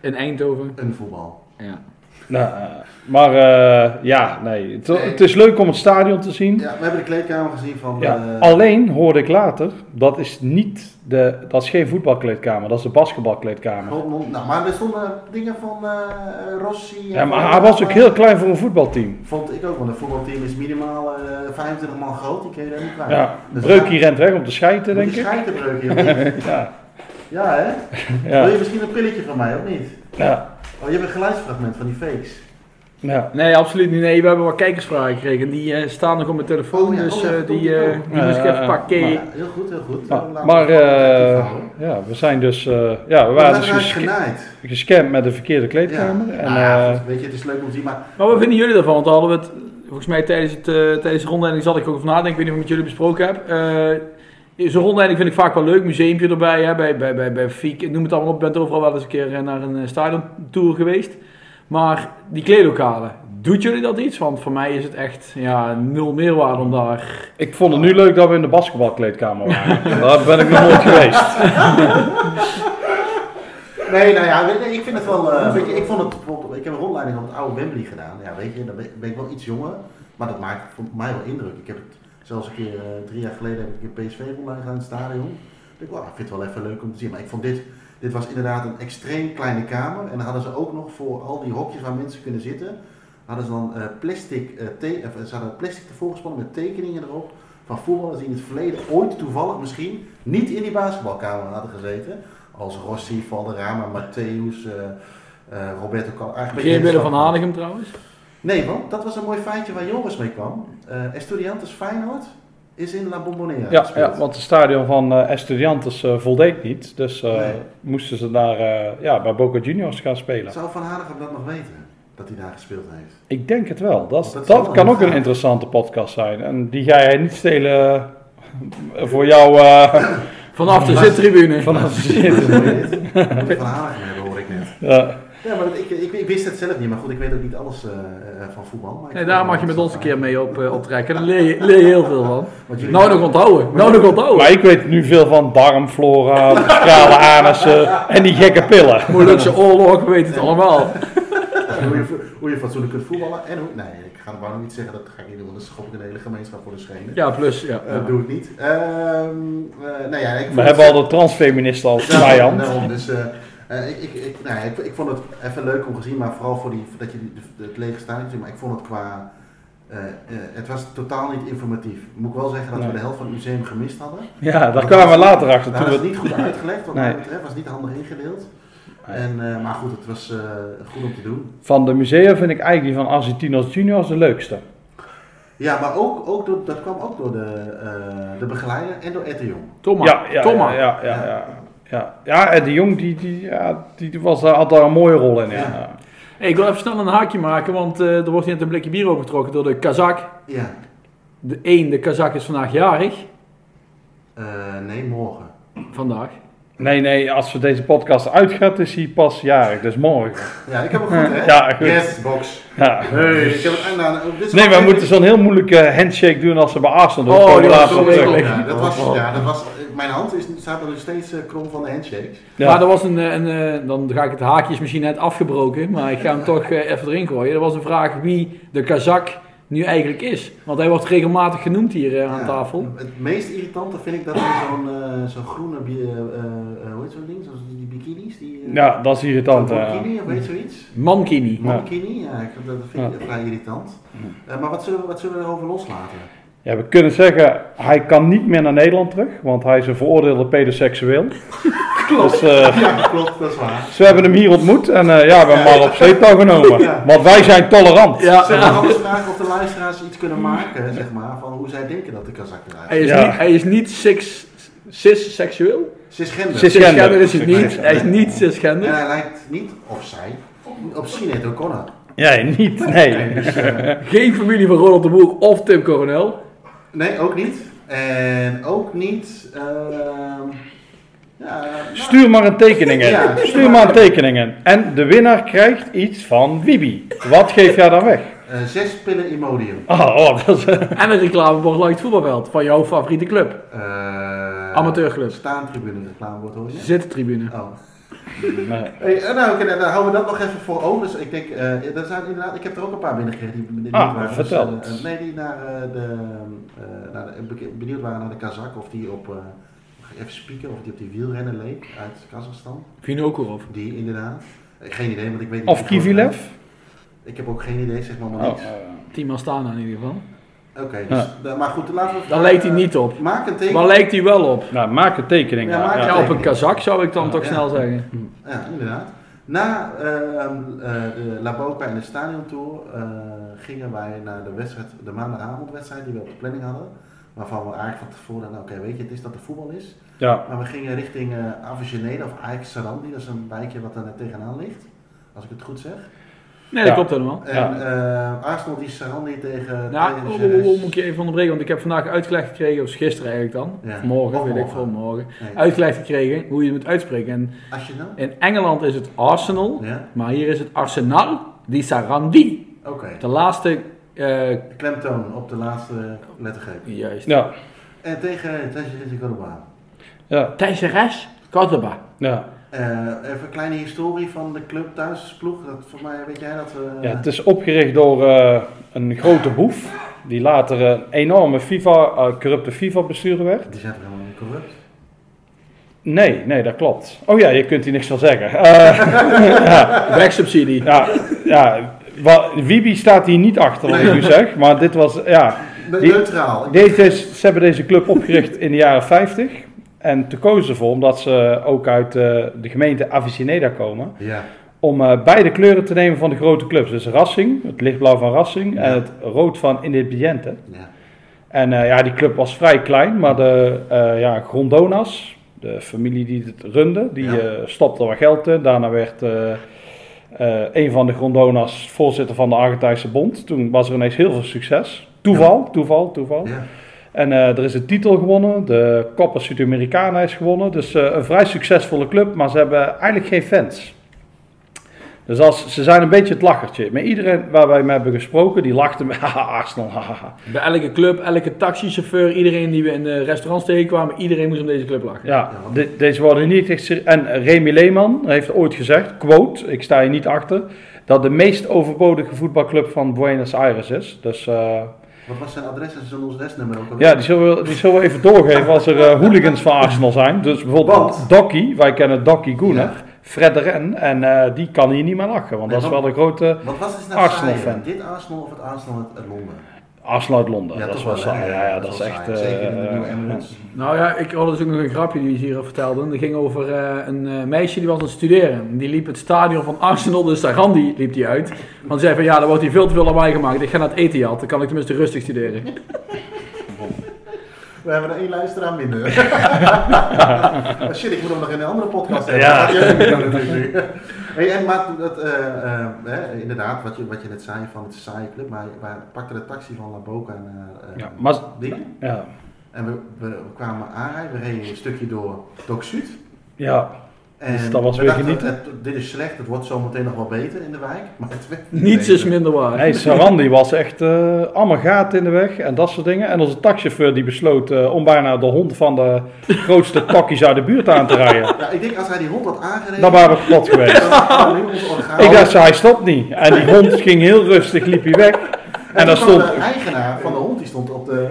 C: In Eindhoven.
B: En voetbal.
C: Ja.
A: Nou, eh, maar eh, ja, nee. Het, het is leuk om het stadion te zien.
B: Ja, we hebben de kleedkamer gezien van...
A: Ja,
B: eh,
A: alleen hoorde ik later, dat is niet de, dat is geen voetbalkleedkamer, dat is de basketbalkleedkamer.
B: Dortmund. Nou, maar er stonden dingen van eh, Rossi. en
A: Ja, maar
B: van-
A: hij was ook heel klein voor een voetbalteam.
B: Vond ik ook, want een voetbalteam is minimaal eh, 25 man groot, die kun je daar niet kwijt.
A: Ja,
B: Dus
A: Breukie rent weg om te schijten,
B: Moet
A: denk
B: je
A: ik.
B: schijten, Breukie, of niet?
A: Ja,
B: Ja, hè? Wil
A: ja,
B: je misschien een prilletje van mij, of niet?
A: ja,
B: Oh, je hebt een geluidsfragment van die fakes.
A: ja.
C: Nee, absoluut niet. Nee, we hebben wat kijkersvragen gekregen. En Die eh, staan nog op mijn telefoon,
B: Oh ja,
C: dus
B: oh ja,
C: eh,
B: dat
C: die,
B: moet
C: eh,
B: ook.
C: die moest ik
A: Ja,
C: even
A: ja,
C: pakken.
B: Ja, heel goed, heel goed.
A: Nou,
B: Dan laten we
A: maar
B: het gewoon
A: eh,
B: houden.
A: ja, we zijn dus, eh, ja, we
B: We
A: waren
B: zijn
A: dus
B: eruit
A: geske-
B: genaaid.
A: gescamd met de verkeerde kleedkamer.
B: Ja.
A: En,
B: Nou ja,
A: eh,
B: goed, weet je, het is leuk om te zien, maar
C: Maar wat vinden jullie daarvan? Want daar hadden we het, volgens mij tijdens, het, eh, tijdens de rondleiding zat ik ook over nadenken. Ik weet niet of ik met jullie besproken heb. Eh, Zo'n rondleiding vind ik vaak wel leuk. Museumpje erbij, hè, bij, bij, bij, bij Fiek, noem het allemaal op. Je bent overal wel eens een keer eh, naar een eh, stadiontour geweest. Maar die kleedlokalen, doet jullie dat iets? Want voor mij is het echt ja, nul meerwaarde om daar...
A: eh, ik vond het nu leuk dat we in de basketbalkleedkamer waren. Daar ben ik nog nooit geweest.
B: Nee, nou ja, weet je, ik vind het wel. eh, weet je, ik vond het bijvoorbeeld- Ik heb een rondleiding op het oude Wembley gedaan. Ja, weet je, dan ben ben ik wel iets jonger. Maar dat maakt voor mij wel indruk. Ik heb het zelfs een keer, eh, drie jaar geleden, heb ik een keer PSV rondleiding gedaan in het stadion. Ik dacht, wow, ik vind het wel even leuk om te zien. Maar ik vond dit. Dit was inderdaad een extreem kleine kamer. En dan hadden ze ook nog voor al die hokjes waar mensen kunnen zitten. Hadden ze dan eh, plastic, eh te- of, ze hadden plastic ervoor gespannen met tekeningen erop. Van voetballers die in het verleden ooit toevallig misschien niet in die basketbalkamer hadden gezeten. Als Rossi, Valderrama, Matthäus, eh, eh, Roberto Carlos. eigenlijk
C: Geen
B: mensen
C: willen van Hanegem trouwens.
B: Nee, want dat was een mooi feitje waar Joris mee kwam. Eh Estudiantes Feyenoord is in La Bombonera
A: Ja,
B: gespeeld.
A: ja want het stadion van eh Estudiantes eh, voldeed niet. Dus eh,
B: Nee.
A: moesten ze daar eh, ja, bij Boca Juniors gaan spelen.
B: Zou Van Hanegem dat nog weten? Dat hij daar gespeeld heeft.
A: Ik denk het wel. Dat,
B: Dat
A: dat,
B: is wel
A: kan
B: een
A: ook een
B: vraag.
A: interessante podcast zijn. En die ga jij niet stelen eh, voor jou eh,
C: Vanaf de zittribune.
A: vanaf de zitten.
B: Moet ik Van Hanegem hebben, hoor ik net.
A: Ja.
B: Ja, maar dat- ik, ik, ik wist het zelf niet, maar goed, ik weet ook niet alles eh, eh, van voetbal. Maar ik
C: Nee,
B: vond
C: daar
B: het
C: mag je
B: wel
C: met ons een
B: interessant.
C: keer mee op, eh, optrekken. Daar leer je, leer je heel veel van.
B: Want jullie-
C: Nou nog onthouden, nou nog onthouden.
A: Maar ik weet nu veel van darmflora, schrale anussen en die gekke pillen.
C: Molukse oorlog, we weten het allemaal.
B: hoe, je, vo- hoe je fatsoenlijk kunt voetballen en hoe... Nee, ik ga er maar nog niet zeggen, dat ga ik niet doen, want dan schop ik een hele gemeenschap voor de schenen.
C: Ja, plus, ja.
B: Eh, Dat doe ik niet. Ehm, eh, nou ja, ik vond
A: We
B: het-
A: hebben al de transfeministen als
B: Ja,
A: vijand.
B: daarom, dus, eh, eh, ik, ik, ik, nou, ja, ik, ik vond het even leuk om gezien, maar vooral voor die, dat je die, de- het lege stadion ziet. Maar ik vond het qua... eh, eh, het was totaal niet informatief. Moet ik wel zeggen dat we
A: Nee.
B: de helft van het museum gemist hadden.
A: Ja, daar kwamen we later achter.
B: Nou,
A: Toen
B: dat
A: we,
B: is niet goed uitgelegd, wat
A: Nee.
B: mij betreft was niet handig ingedeeld.
A: Nee.
B: En, eh, maar goed, het was eh, goed om te doen.
A: van de musea vind ik eigenlijk die van Argentinos Juniors de leukste.
B: Ja, maar ook, ook door, dat kwam ook door de, eh, de begeleider en door Ed de Jong.
C: Thomas.
A: Ja, ja,
C: Thomas.
A: ja, ja, ja, ja. Ja, ja en de Jong die, die, ja, die was, daar- had daar een mooie rol in. Ja.
B: Ja.
C: Hey, ik wil even snel een haakje maken, want eh, er wordt net een blikje bier overgetrokken door de Kazak.
B: Ja,
C: De één, de Kazak is vandaag jarig.
B: Eh, nee, morgen.
C: Vandaag.
A: Nee, nee, als we deze podcast uitgaat is hij pas jarig, dus morgen.
B: Ja, ik heb hem goed, hè?
A: Ja, goed.
B: Yes, box.
A: Ja.
B: Hey, ik heb het nou, dit is
A: Nee,
B: wel-
A: we moeten zo'n heel moeilijke handshake doen als ze bij Arsenal
C: Oh,
A: doen. Komen we
C: die was
A: later
C: zo
A: op terug.
C: ingewikkeld.
B: Ja, dat was, ja, dat was, mijn hand is, staat er nog steeds eh, krom van de handshakes.
A: Ja.
C: Maar er was een, eh, een eh, dan ga ik het haakjes misschien net afgebroken, maar ik ga hem toch eh, even erin gooien. Er was een vraag wie de Kazak nu eigenlijk is. Want hij wordt regelmatig genoemd hier eh, aan
B: Ja,
C: tafel.
B: Het meest irritante vind ik dat er zo'n eh, zo'n groene, bi- eh, eh, hoe heet zo'n ding? Zoals die bikinis? Die, eh,
A: Ja, dat is irritant. eh.
B: Een
A: hè.
B: Bikini of weet zoiets?
C: Mankini.
B: Mankini, ja, ik- dat vind ik
A: Ja.
B: vrij irritant. Eh, maar wat zullen, we, wat zullen we erover loslaten?
A: Ja, we kunnen zeggen, hij kan niet meer naar Nederland terug, want hij is een veroordeelde pedoseksueel. Dus, eh,
B: Ja, klopt, dat is waar.
A: dus we hebben hem hier ontmoet en eh, ja, we hebben hem al op sleeptouw genomen.
B: Ja.
A: Want wij zijn tolerant.
B: Zullen we
C: Ja,
B: anders vragen of de luisteraars iets kunnen maken, zeg maar, van hoe zij denken dat de Kazak eruit
C: hij
B: is?
C: is
A: Ja.
C: niet, hij is niet six, cisseksueel.
B: Cisgender.
A: Cis- Cisgender.
C: Cisgender is het niet.
A: Cisgender.
C: Hij is niet
B: en
C: cisgender.
B: hij lijkt niet, of zij, op- op Sinead O'Connor.
A: Nee, niet, nee.
B: Dus, eh,
C: Geen familie van Ronald de Boer of Tim Coronel.
B: nee, ook niet. En ook niet, ehm, ja, nou,
A: Stuur maar een tekening in.
B: Ja.
A: Stuur maar een tekening in. En de winnaar krijgt iets van Wibi. Wat geef jij dan weg?
B: eh, zes pillen Imodium.
A: Oh, oh, dat is...
C: En een reclamebord langs het voetbalveld van jouw favoriete club.
B: Eh,
C: Amateurclub.
B: Staantribune reclamebord hoor je?
C: Zittribune.
B: Oh.
A: Nee.
B: Hey, eh, nou, oké, nou, dan houden we dat nog even voor ogen. Dus ik denk, eh, er zijn inderdaad, ik heb er ook een paar binnengekregen die benieuwd
A: Ah,
B: waren.
A: vertel.
B: Dus, eh, eh, nee, die naar, eh, de, eh, naar de- beke- benieuwd waren naar de Kazak of die op, eh, mag ik even spieken, of die op die wielrenner leek uit Kazachstan.
C: Vind je ook erop?
B: Die inderdaad. Eh, Geen idee, want ik weet niet.
A: Of
B: wie het
A: Kivilev?
B: gewoon- Ik heb ook geen idee, zeg maar, maar
A: Oh,
B: niks.
A: eh,
C: Team Astana in ieder geval.
B: Oké, dus, da- maar goed, laten we...
C: Daar lijkt hij niet op.
B: Maak een teken.
C: Waar lijkt hij wel op?
A: nou, maak een tekening.
B: Ja,
A: maar.
B: maak
A: Ja.
B: een
C: Ja, op een kazak zou ik dan toch
B: Ja.
C: snel zeggen.
B: Ja, inderdaad. Na eh, ehm, eh, de La Boca en de Stadion Tour eh, gingen wij naar de, wedstrijd, de maandagavondwedstrijd die we op de planning hadden. Waarvan we eigenlijk van tevoren hadden, oké, weet je, het is dat er voetbal is.
A: Ja.
B: Maar we gingen richting eh Avigenede of Ajax Sarandi, dat is een wijkje wat daar net tegenaan ligt. Als ik het goed zeg.
C: Nee, dat
A: Ja.
C: klopt helemaal.
B: En
A: Ja.
B: eh, Arsenal die Sarandi tegen...
C: Nou,
B: tegen
C: oh,
B: Jerez.
C: oh, oh, moet ik je even onderbreken, want ik heb vandaag uitgelegd gekregen, of gisteren eigenlijk dan,
B: Ja.
C: of morgen,
B: Of
C: weet ik
B: morgen.
C: veel, morgen,
B: Nee,
C: uitgelegd gekregen hoe je het moet uitspreken. En
B: Arsenal?
C: in Engeland is het Arsenal,
B: Ja,
C: maar hier is het Arsenal di Sarandi.
B: oké.
C: De laatste, eh,
B: De klemtoon op de laatste lettergreep.
C: juist,
A: Ja.
B: En tegen Tajiris de Cordoba.
A: Ja.
C: Teixeres Cordoba.
A: Ja.
B: Eh, even een kleine historie van de club thuisploeg. Dat, voor mij weet jij dat. eh,
A: ja. Het is opgericht door eh, een grote boef. Die later een enorme FIFA, eh, corrupte FIFA-bestuurder werd.
B: Die zijn toch helemaal niet corrupt?
A: Nee, nee, dat klopt. Oh ja, je kunt hier niks van zeggen. Eh,
C: Wegsubsidie.
A: ja, ja, wa- Wiebe staat hier niet achter, wat ik nu zeg. Maar dit was, ja.
B: Ne-
A: Die-
B: Neutraal. Ik-
A: Deze, ze hebben deze club opgericht in de jaren 50. En toen kozen ze ervoor, omdat ze ook uit eh, de gemeente Aviceneda komen,
B: Ja,
A: om eh, beide kleuren te nemen van de grote clubs. Dus Racing, het lichtblauw van Racing,
B: Ja.
A: en het rood van Independiente.
B: ja.
A: En eh, ja, die club was vrij klein, maar de eh, ja, Grondonas, de familie die het runde, die
B: Ja.
A: eh, stopte wat geld in. Daarna werd eh, eh, een van de Grondonas voorzitter van de Argentijnse Bond. Toen was er ineens heel veel succes. Toeval, toeval, toeval.
B: ja.
A: En eh, er is een titel gewonnen, de Copa Sudamericana is gewonnen. Dus eh, een vrij succesvolle club, maar ze hebben eigenlijk geen fans. Dus als, ze zijn een beetje het lachertje. Maar iedereen waar wij mee hebben gesproken, die lachte me. Haha, Arsenal, haha.
C: Bij elke club, elke taxichauffeur, iedereen die we in de restaurants tegenkwamen, iedereen moest om deze club lachen.
A: Ja,
B: Ja, want-
A: de- deze worden niet echt serie- En Remy Leeman heeft ooit gezegd, quote, ik sta hier niet achter, dat de meest overbodige voetbalclub van Buenos Aires is. Dus eh,
B: Wat was zijn adres en zijn ons desnummer ook alweer?
A: ja, die zullen, we, die zullen we even doorgeven als er eh, hooligans van Arsenal zijn. Dus bijvoorbeeld
B: Want?
A: Dokkie, wij kennen Dokkie Gooner,
B: Ja.
A: Fred de Ren, en eh, die kan hier niet meer lachen, want
B: Nee,
A: dat is
B: want-
A: wel een grote
B: Wat was het nou
A: Arsenal
B: saaier?
A: fan.
B: Dit Arsenal of het Arsenal uit uit Londen?
A: Arsenal uit Londen.
B: Ja,
A: dat
B: toch
A: is wel
B: wel, hè?
A: saai. Ja, ja, dat is
B: wel
A: echt...
B: saai. Zeker in de
A: eh,
B: nieuwe Emirates.
C: Nou ja, ik had dus ook nog een grapje die ze hier vertelde. Dat ging over eh, een eh, meisje die was aan het studeren. Die liep het stadion van Arsenal, dus Sarandi liep die uit. Want ze zei van ja, daar wordt hier veel te veel lawaai gemaakt. Ik ga naar het Etihad, dan kan ik tenminste rustig studeren.
B: We hebben er één luisteraar minder. Oh Shit, ik moet hem nog in een andere podcast hebben.
A: Ja.
B: Dat had jij ook nog natuurlijk. hey, en maar dat, eh, eh, hè, inderdaad, wat je, wat je net zei van het saaie club, maar wij pakten de taxi van La Boca naar eh
A: ja, maar...
B: Dingen.
A: Ja,
B: En we, we, we kwamen aanrijden, we reden een stukje door Doc Zuid.
A: ja.
B: En
A: Dus dat was
B: we
A: weer
B: dachten,
A: genieten.
B: het- dit is slecht, het wordt zo meteen nog wel beter in de wijk. Maar het werd niet
C: Niets is
B: beter.
C: minder waar.
A: Nee, Sarandi was echt eh, allemaal gaten in de weg en dat soort dingen. En onze taxichauffeur die besloot eh, om bijna de hond van de grootste pakjes uit de buurt aan te rijden.
B: Ja, ik denk als hij die hond had aangereden,
A: Dan waren we kapot geweest.
B: dan hadden we nu ons orgaan.
A: Nou, Ik dacht, hij stopt niet. En die hond ging heel rustig, liep hij weg. En daar
B: toen kwam
A: stond...
B: de eigenaar van de hond, die stond op de,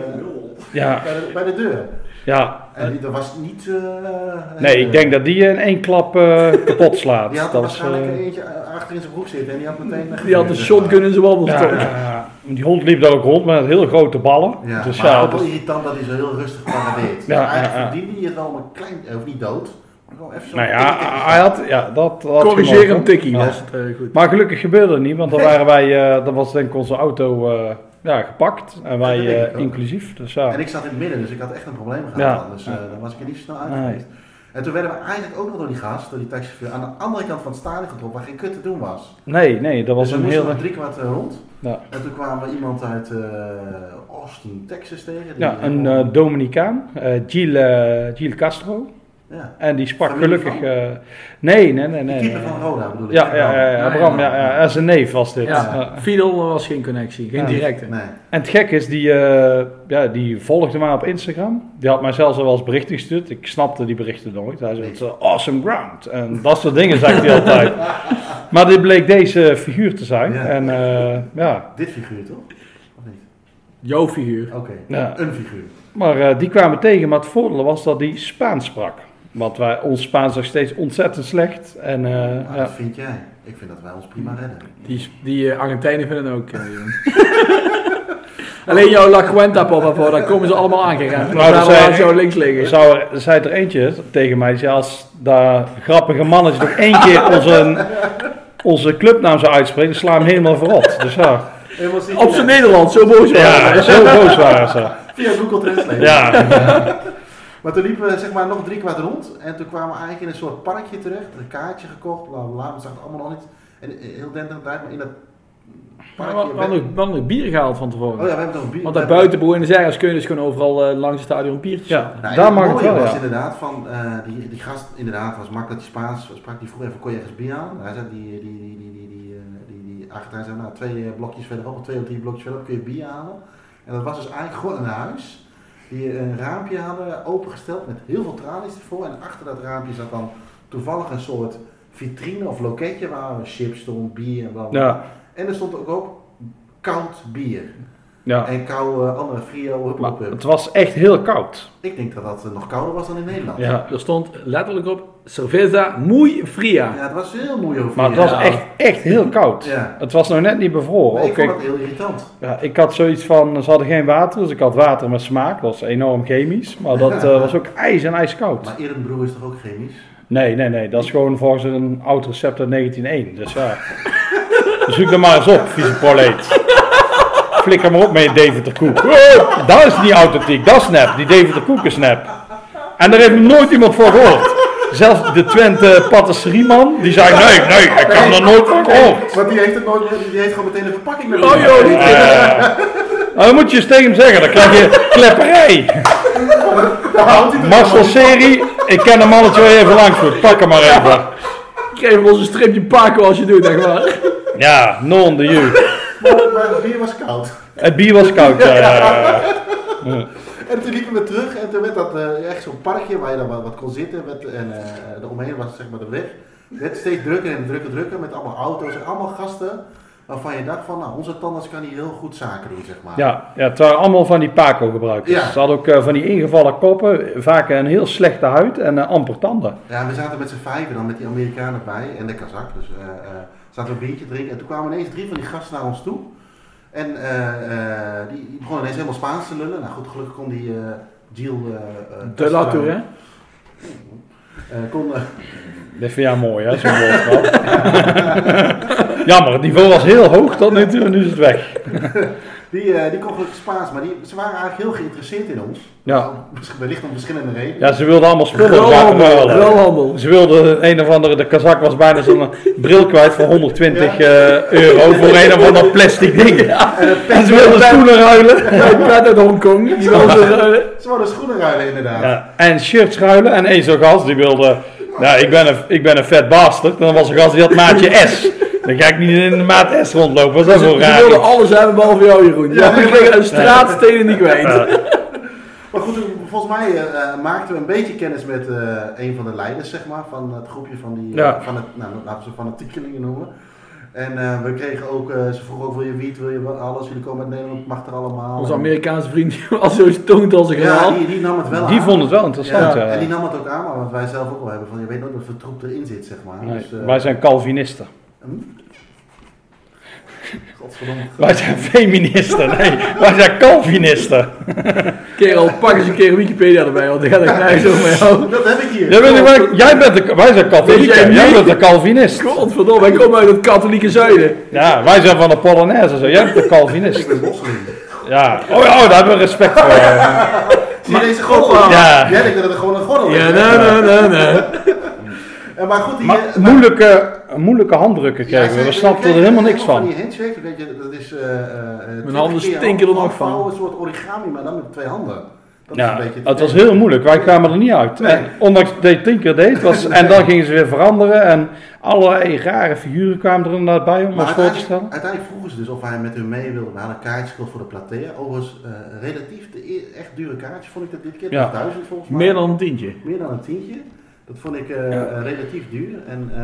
A: Ja,
B: bij, de, bij de deur.
A: ja.
B: En die, dat was niet... eh,
A: Nee, ik denk dat die in één klap eh, kapot slaat.
B: Die had er
A: dat is,
B: waarschijnlijk
A: eh,
B: eentje eh, achter in zijn broek zitten en die had meteen... eh,
C: Die had een
B: gebeurd,
C: shotgun in zijn
A: ja,
C: wandelstok.
A: ja. die hond liep daar ook rond met heel grote ballen.
B: Ja,
A: dus
B: maar
A: ja,
B: ook wel
A: dus-
B: irritant dat hij zo heel rustig paradeert.
A: Ja,
B: Ja, eigenlijk
A: ja, ja.
B: verdiende hij het wel om een klein... eh, Of niet dood. maar wel even zo
A: nou ja, hij had... Ja, dat, dat
C: Corrigeer
A: gemogen.
C: een tikkie
A: Ja.
C: was het eh, goed.
A: Maar gelukkig gebeurde het niet, want dan waren wij, eh, dan was denk ik onze auto eh, ja, gepakt en wij
B: dat denk ik
A: eh,
B: ook.
A: inclusief. Dus ja,
B: En ik zat in het midden, dus ik had echt een probleem gehad.
A: Ja.
B: Anders eh, dan was ik er niet zo snel uit
A: Nee.
B: geweest. En toen werden we eigenlijk ook nog door die gast, door die taxichauffeur, aan de andere kant van het stadion getrokken waar geen kut te doen was.
A: nee, nee, dat was
B: dus we
A: een
B: moesten
A: hele.
B: nog drie kwart eh, rond.
A: Ja.
B: En toen kwamen we iemand uit eh, Austin, Texas tegen. Die-
A: Ja, een eh, Dominicaan, eh Gil, eh, Gil Castro.
B: Ja.
A: En die sprak
B: Familie
A: gelukkig...
B: van?
A: eh, nee, nee, nee, nee.
B: Keeper
A: nee.
B: van Roda bedoel ik.
A: Ja, ja, ja, ja,
C: Nee,
A: Bram,
C: nee.
A: ja, ja, en zijn neef was dit. Ja.
C: Ja, Fidel was geen connectie, geen
B: Ja,
C: directe.
B: Nee.
A: En het gek is, die, eh, ja, die volgde mij op Instagram. Die had mij zelfs al wel eens berichten gestuurd. Ik snapte die berichten nooit. Hij zei, "It's a awesome ground. En dat soort dingen zegt hij altijd. Maar dit bleek deze figuur te zijn.
B: Ja.
A: En eh, ja,
B: Dit figuur toch? Of niet?
C: Jouw figuur.
B: Oké,
A: Ja.
B: een figuur.
A: maar eh, die kwamen tegen. Maar het voordeel was dat die Spaans sprak. Want wij, ons Spaans nog steeds ontzettend slecht. En eh,
B: Maar
A: ja.
B: Ah, dat vind jij. Ik vind dat wij ons prima redden.
C: Die, die eh, Argentijnen vinden het ook. eh, jongen. Alleen jouw La Cuenta, papa, voor, daar komen ze allemaal aangegaan.
A: Nou,
C: Nou,
A: dat
C: daar
A: zei-
C: laat jou links liggen.
A: Er zou er, er zei er eentje tegen mij, die zei, als dat grappige mannetje nog één keer onze, onze clubnaam zou uitspreken, dan sla hem helemaal verrot. Dus ja,
C: Op zijn Nederlands, zo boos waren
A: ja
C: ze.
A: zo boos waren ze.
B: Via Google Translate.
A: Ja,
B: Maar toen liepen we zeg maar nog drie kwart rond. En toen kwamen we eigenlijk in een soort parkje terecht. Een kaartje gekocht, bla bla bla. We zagen het allemaal nog niet. En eh, heel dent aan het maar in dat
C: Maar
B: parkje.
C: we we hadden ook- we hadden ook bier gehaald van tevoren.
B: Oh ja, we hebben toch een bier.
C: Want daar buiten Boer in de Zegers kun je dus gewoon overal eh, langs het stadion een biertje
A: ja
C: zetten.
B: Nou,
A: daar
B: en
A: mag het
B: mooie
A: wel,
B: was
A: ja.
B: inderdaad van, eh, die, die gast inderdaad was makkelijk die Spaans sprak, die vroeg even, kon je ergens bier halen? Hij zei, die, die, die, die, die, die, eh, die, die Argentijn zei, nou, twee eh, blokjes verderop, of twee of drie blokjes verderop kun je bier halen. En dat was dus eigenlijk gewoon een huis, die eh, een raampje hadden opengesteld met heel veel tralies ervoor. En achter dat raampje zat dan toevallig een soort vitrine of loketje waar chips stond, bier en blablabla.
A: Ja,
B: En er stond ook op koud bier.
A: ja.
B: En kou, eh, andere frio, hup,
A: Maar
B: hup, hup.
A: het was echt heel koud.
B: Ik denk dat dat eh, nog kouder was dan in Nederland.
A: Ja.
C: Er stond letterlijk op cerveza muy fria.
B: Ja, het was heel moeilijk over.
A: Maar het was echt, Oh, echt heel koud.
B: Ja.
A: Het was nog net niet bevroren.
B: ik
A: Ook ik,
B: vond het heel irritant.
A: ja, ik had zoiets van, ze hadden geen water, dus ik had water met smaak. Dat was enorm chemisch, maar dat eh, was ook ijs en ijskoud.
B: Maar Erenbroer is toch ook chemisch?
A: Nee, nee, nee. Dat is gewoon volgens een oud recept uit 1901. Dus ja. Zoek er maar eens op, vieze proleet. Flikker maar op met je Deventer koek. Wow, dat is niet authentiek, dat is nep. Die Deventer koek is nep. En daar heeft nog nooit iemand voor gehoord. Zelfs de Twente patisserieman, die zei, nee, nee, ik kan er nooit van gehoord.
B: Want die heeft, het nooit, die heeft gewoon meteen een verpakking met
C: Oh joh, niet
A: Eh, nou, dan moet je eens tegen hem zeggen, dan krijg je klepperij.
B: Daar houdt hij toch
A: Marcel Serie, ik ken een mannetje waar je even langs moet, pak hem maar even.
C: Geef ons een stripje Paco als je doet, echt waar.
A: Ja, non de you.
B: van. Maar het bier was koud.
A: Het bier was koud. ja, ja, ja.
B: En toen liepen we terug en toen werd dat eh, echt zo'n parkje waar je dan wat, wat kon zitten. Met, en eh eromheen was zeg maar de weg. Het werd steeds drukker en drukker, drukker. Met allemaal auto's en allemaal gasten. Waarvan je dacht van, nou, onze tandarts kan hier heel goed zaken doen, zeg maar.
A: Ja, ja, het waren allemaal van die Paco-gebruikers.
B: Ja.
A: Ze hadden ook eh, van die ingevallen koppen, vaak een heel slechte huid en eh, amper tanden.
B: Ja, we zaten met z'n vijven dan met die Amerikanen bij en de Kazak. Dus eh, eh, zaten we een biertje te drinken. En toen kwamen ineens drie van die gasten naar ons toe. En eh, eh, die, die begonnen ineens helemaal Spaans te lullen. Nou goed, gelukkig kon die eh Gilles... eh, eh,
C: De Latour, hè?
B: eh, kon, eh,
A: Dat vind jij mooi, hè, zo'n woordgrap. Jammer, het niveau was heel hoog tot nu toe en nu is het weg.
B: die, eh, die kon gelukkig Spaans, maar die, ze waren eigenlijk heel geïnteresseerd in ons.
A: Ja.
B: Nou, misschien- wellicht om verschillende redenen.
A: Ja, ze wilden allemaal spullen gaan
C: Ruilhandel,
A: ruilen.
C: ruilhandel.
A: eh, Ze wilden een of andere, de kazak was bijna zo'n eh, bril kwijt voor 120 eh, euro voor een of ander plastic ding. En ze wilden schoenen ruilen.
C: Bij Pet uit Hongkong. Die eh, wil ze-
B: Ze wilden schoenen ruilen inderdaad.
A: Ja, en shirts ruilen. En één zo'n gast die wilde. Nou, ik ben een, ik ben een vet bastard. En dan was een gast die had maatje S. Dan ga ik niet in de maat S rondlopen. Wat is dat voor
C: Ze
A: raar?
C: wilden alles hebben behalve jou, Jeroen. Ja, ik kreeg een straatstenen niet kwijt.
B: Maar goed, volgens mij eh, eh, maakten we een beetje kennis met eh, een van de leiders, zeg maar, van het groepje van die, eh,
A: Ja.
B: van het, nou, laten we ze fanatiekelingen noemen. En eh, we kregen ook, eh, ze vroegen ook, wil je wiet, wil je wat, alles, jullie komen uit Nederland, mag er allemaal.
C: Onze
B: En-
C: Amerikaanse vriend die was zo stoned als een
B: Ja,
C: graal.
B: die, die nam het wel aan.
A: Die vond het wel interessant.
B: ja,
A: Ja,
B: En die nam het ook aan, maar wat wij zelf ook wel hebben, van je weet nooit wat voor troep erin zit, zeg maar.
A: Nee,
B: dus, eh, hm?
A: wij zijn Calvinisten.
B: Godverdomme.
A: Wij zijn feministen. Nee, wij zijn Calvinisten.
C: Kerel, pak eens een keer Wikipedia erbij, want dan gaat ik nergens over met jou.
B: Dat heb ik hier.
A: Jij bent, wij, jij bent de, wij zijn
C: Weet
A: katholieken.
C: jij
A: Jij
C: niet?
A: bent een Calvinist.
C: Godverdomme, hij komt uit het katholieke zuiden.
A: Ja, wij zijn van de Polonaise. en Zo. Jij bent een Calvinist.
B: Ik ben moslim.
A: Ja. Oh, ja, oh, daar hebben we respect voor.
B: Zie je deze gorrel?
A: Ja. nou.
B: Jij denkt dat het gewoon een gorrel is.
C: Ja, nee, nee, nee, nee.
B: En Maar goed, die,
A: Maar
B: eh,
A: moeilijke, moeilijke handdrukken
B: Ja,
A: kregen we.
B: zeker.
A: We snapten er
B: kregen
A: helemaal niks
B: Van
A: van.
B: die handshake, weet je, dat is... eh, eh, twintig
C: handen
B: keer
C: stinken er nog
B: afvouwen,
C: van.
B: Een soort origami, maar dan met twee handen. Dat
A: Ja,
B: is een beetje
A: het was heel moeilijk. Wij kwamen er niet uit.
B: Nee.
A: En ondanks dat je Tinker deed. Was, En dan gingen ze weer veranderen. En allerlei rare figuren kwamen er inderdaad bij om ons
B: Maar
A: voor te
B: uiteindelijk,
A: stellen.
B: uiteindelijk vroegen ze dus of wij met hun mee wilden. We hadden een kaartje gekocht voor de platea. Overigens, eh, relatief de e- echt dure kaartje vond ik dat dit keer.
A: Ja.
B: Ja. 1000 volgens mij.
C: Meer dan een tientje.
B: Meer dan een tientje. Dat vond ik eh, eh, relatief duur. En, eh,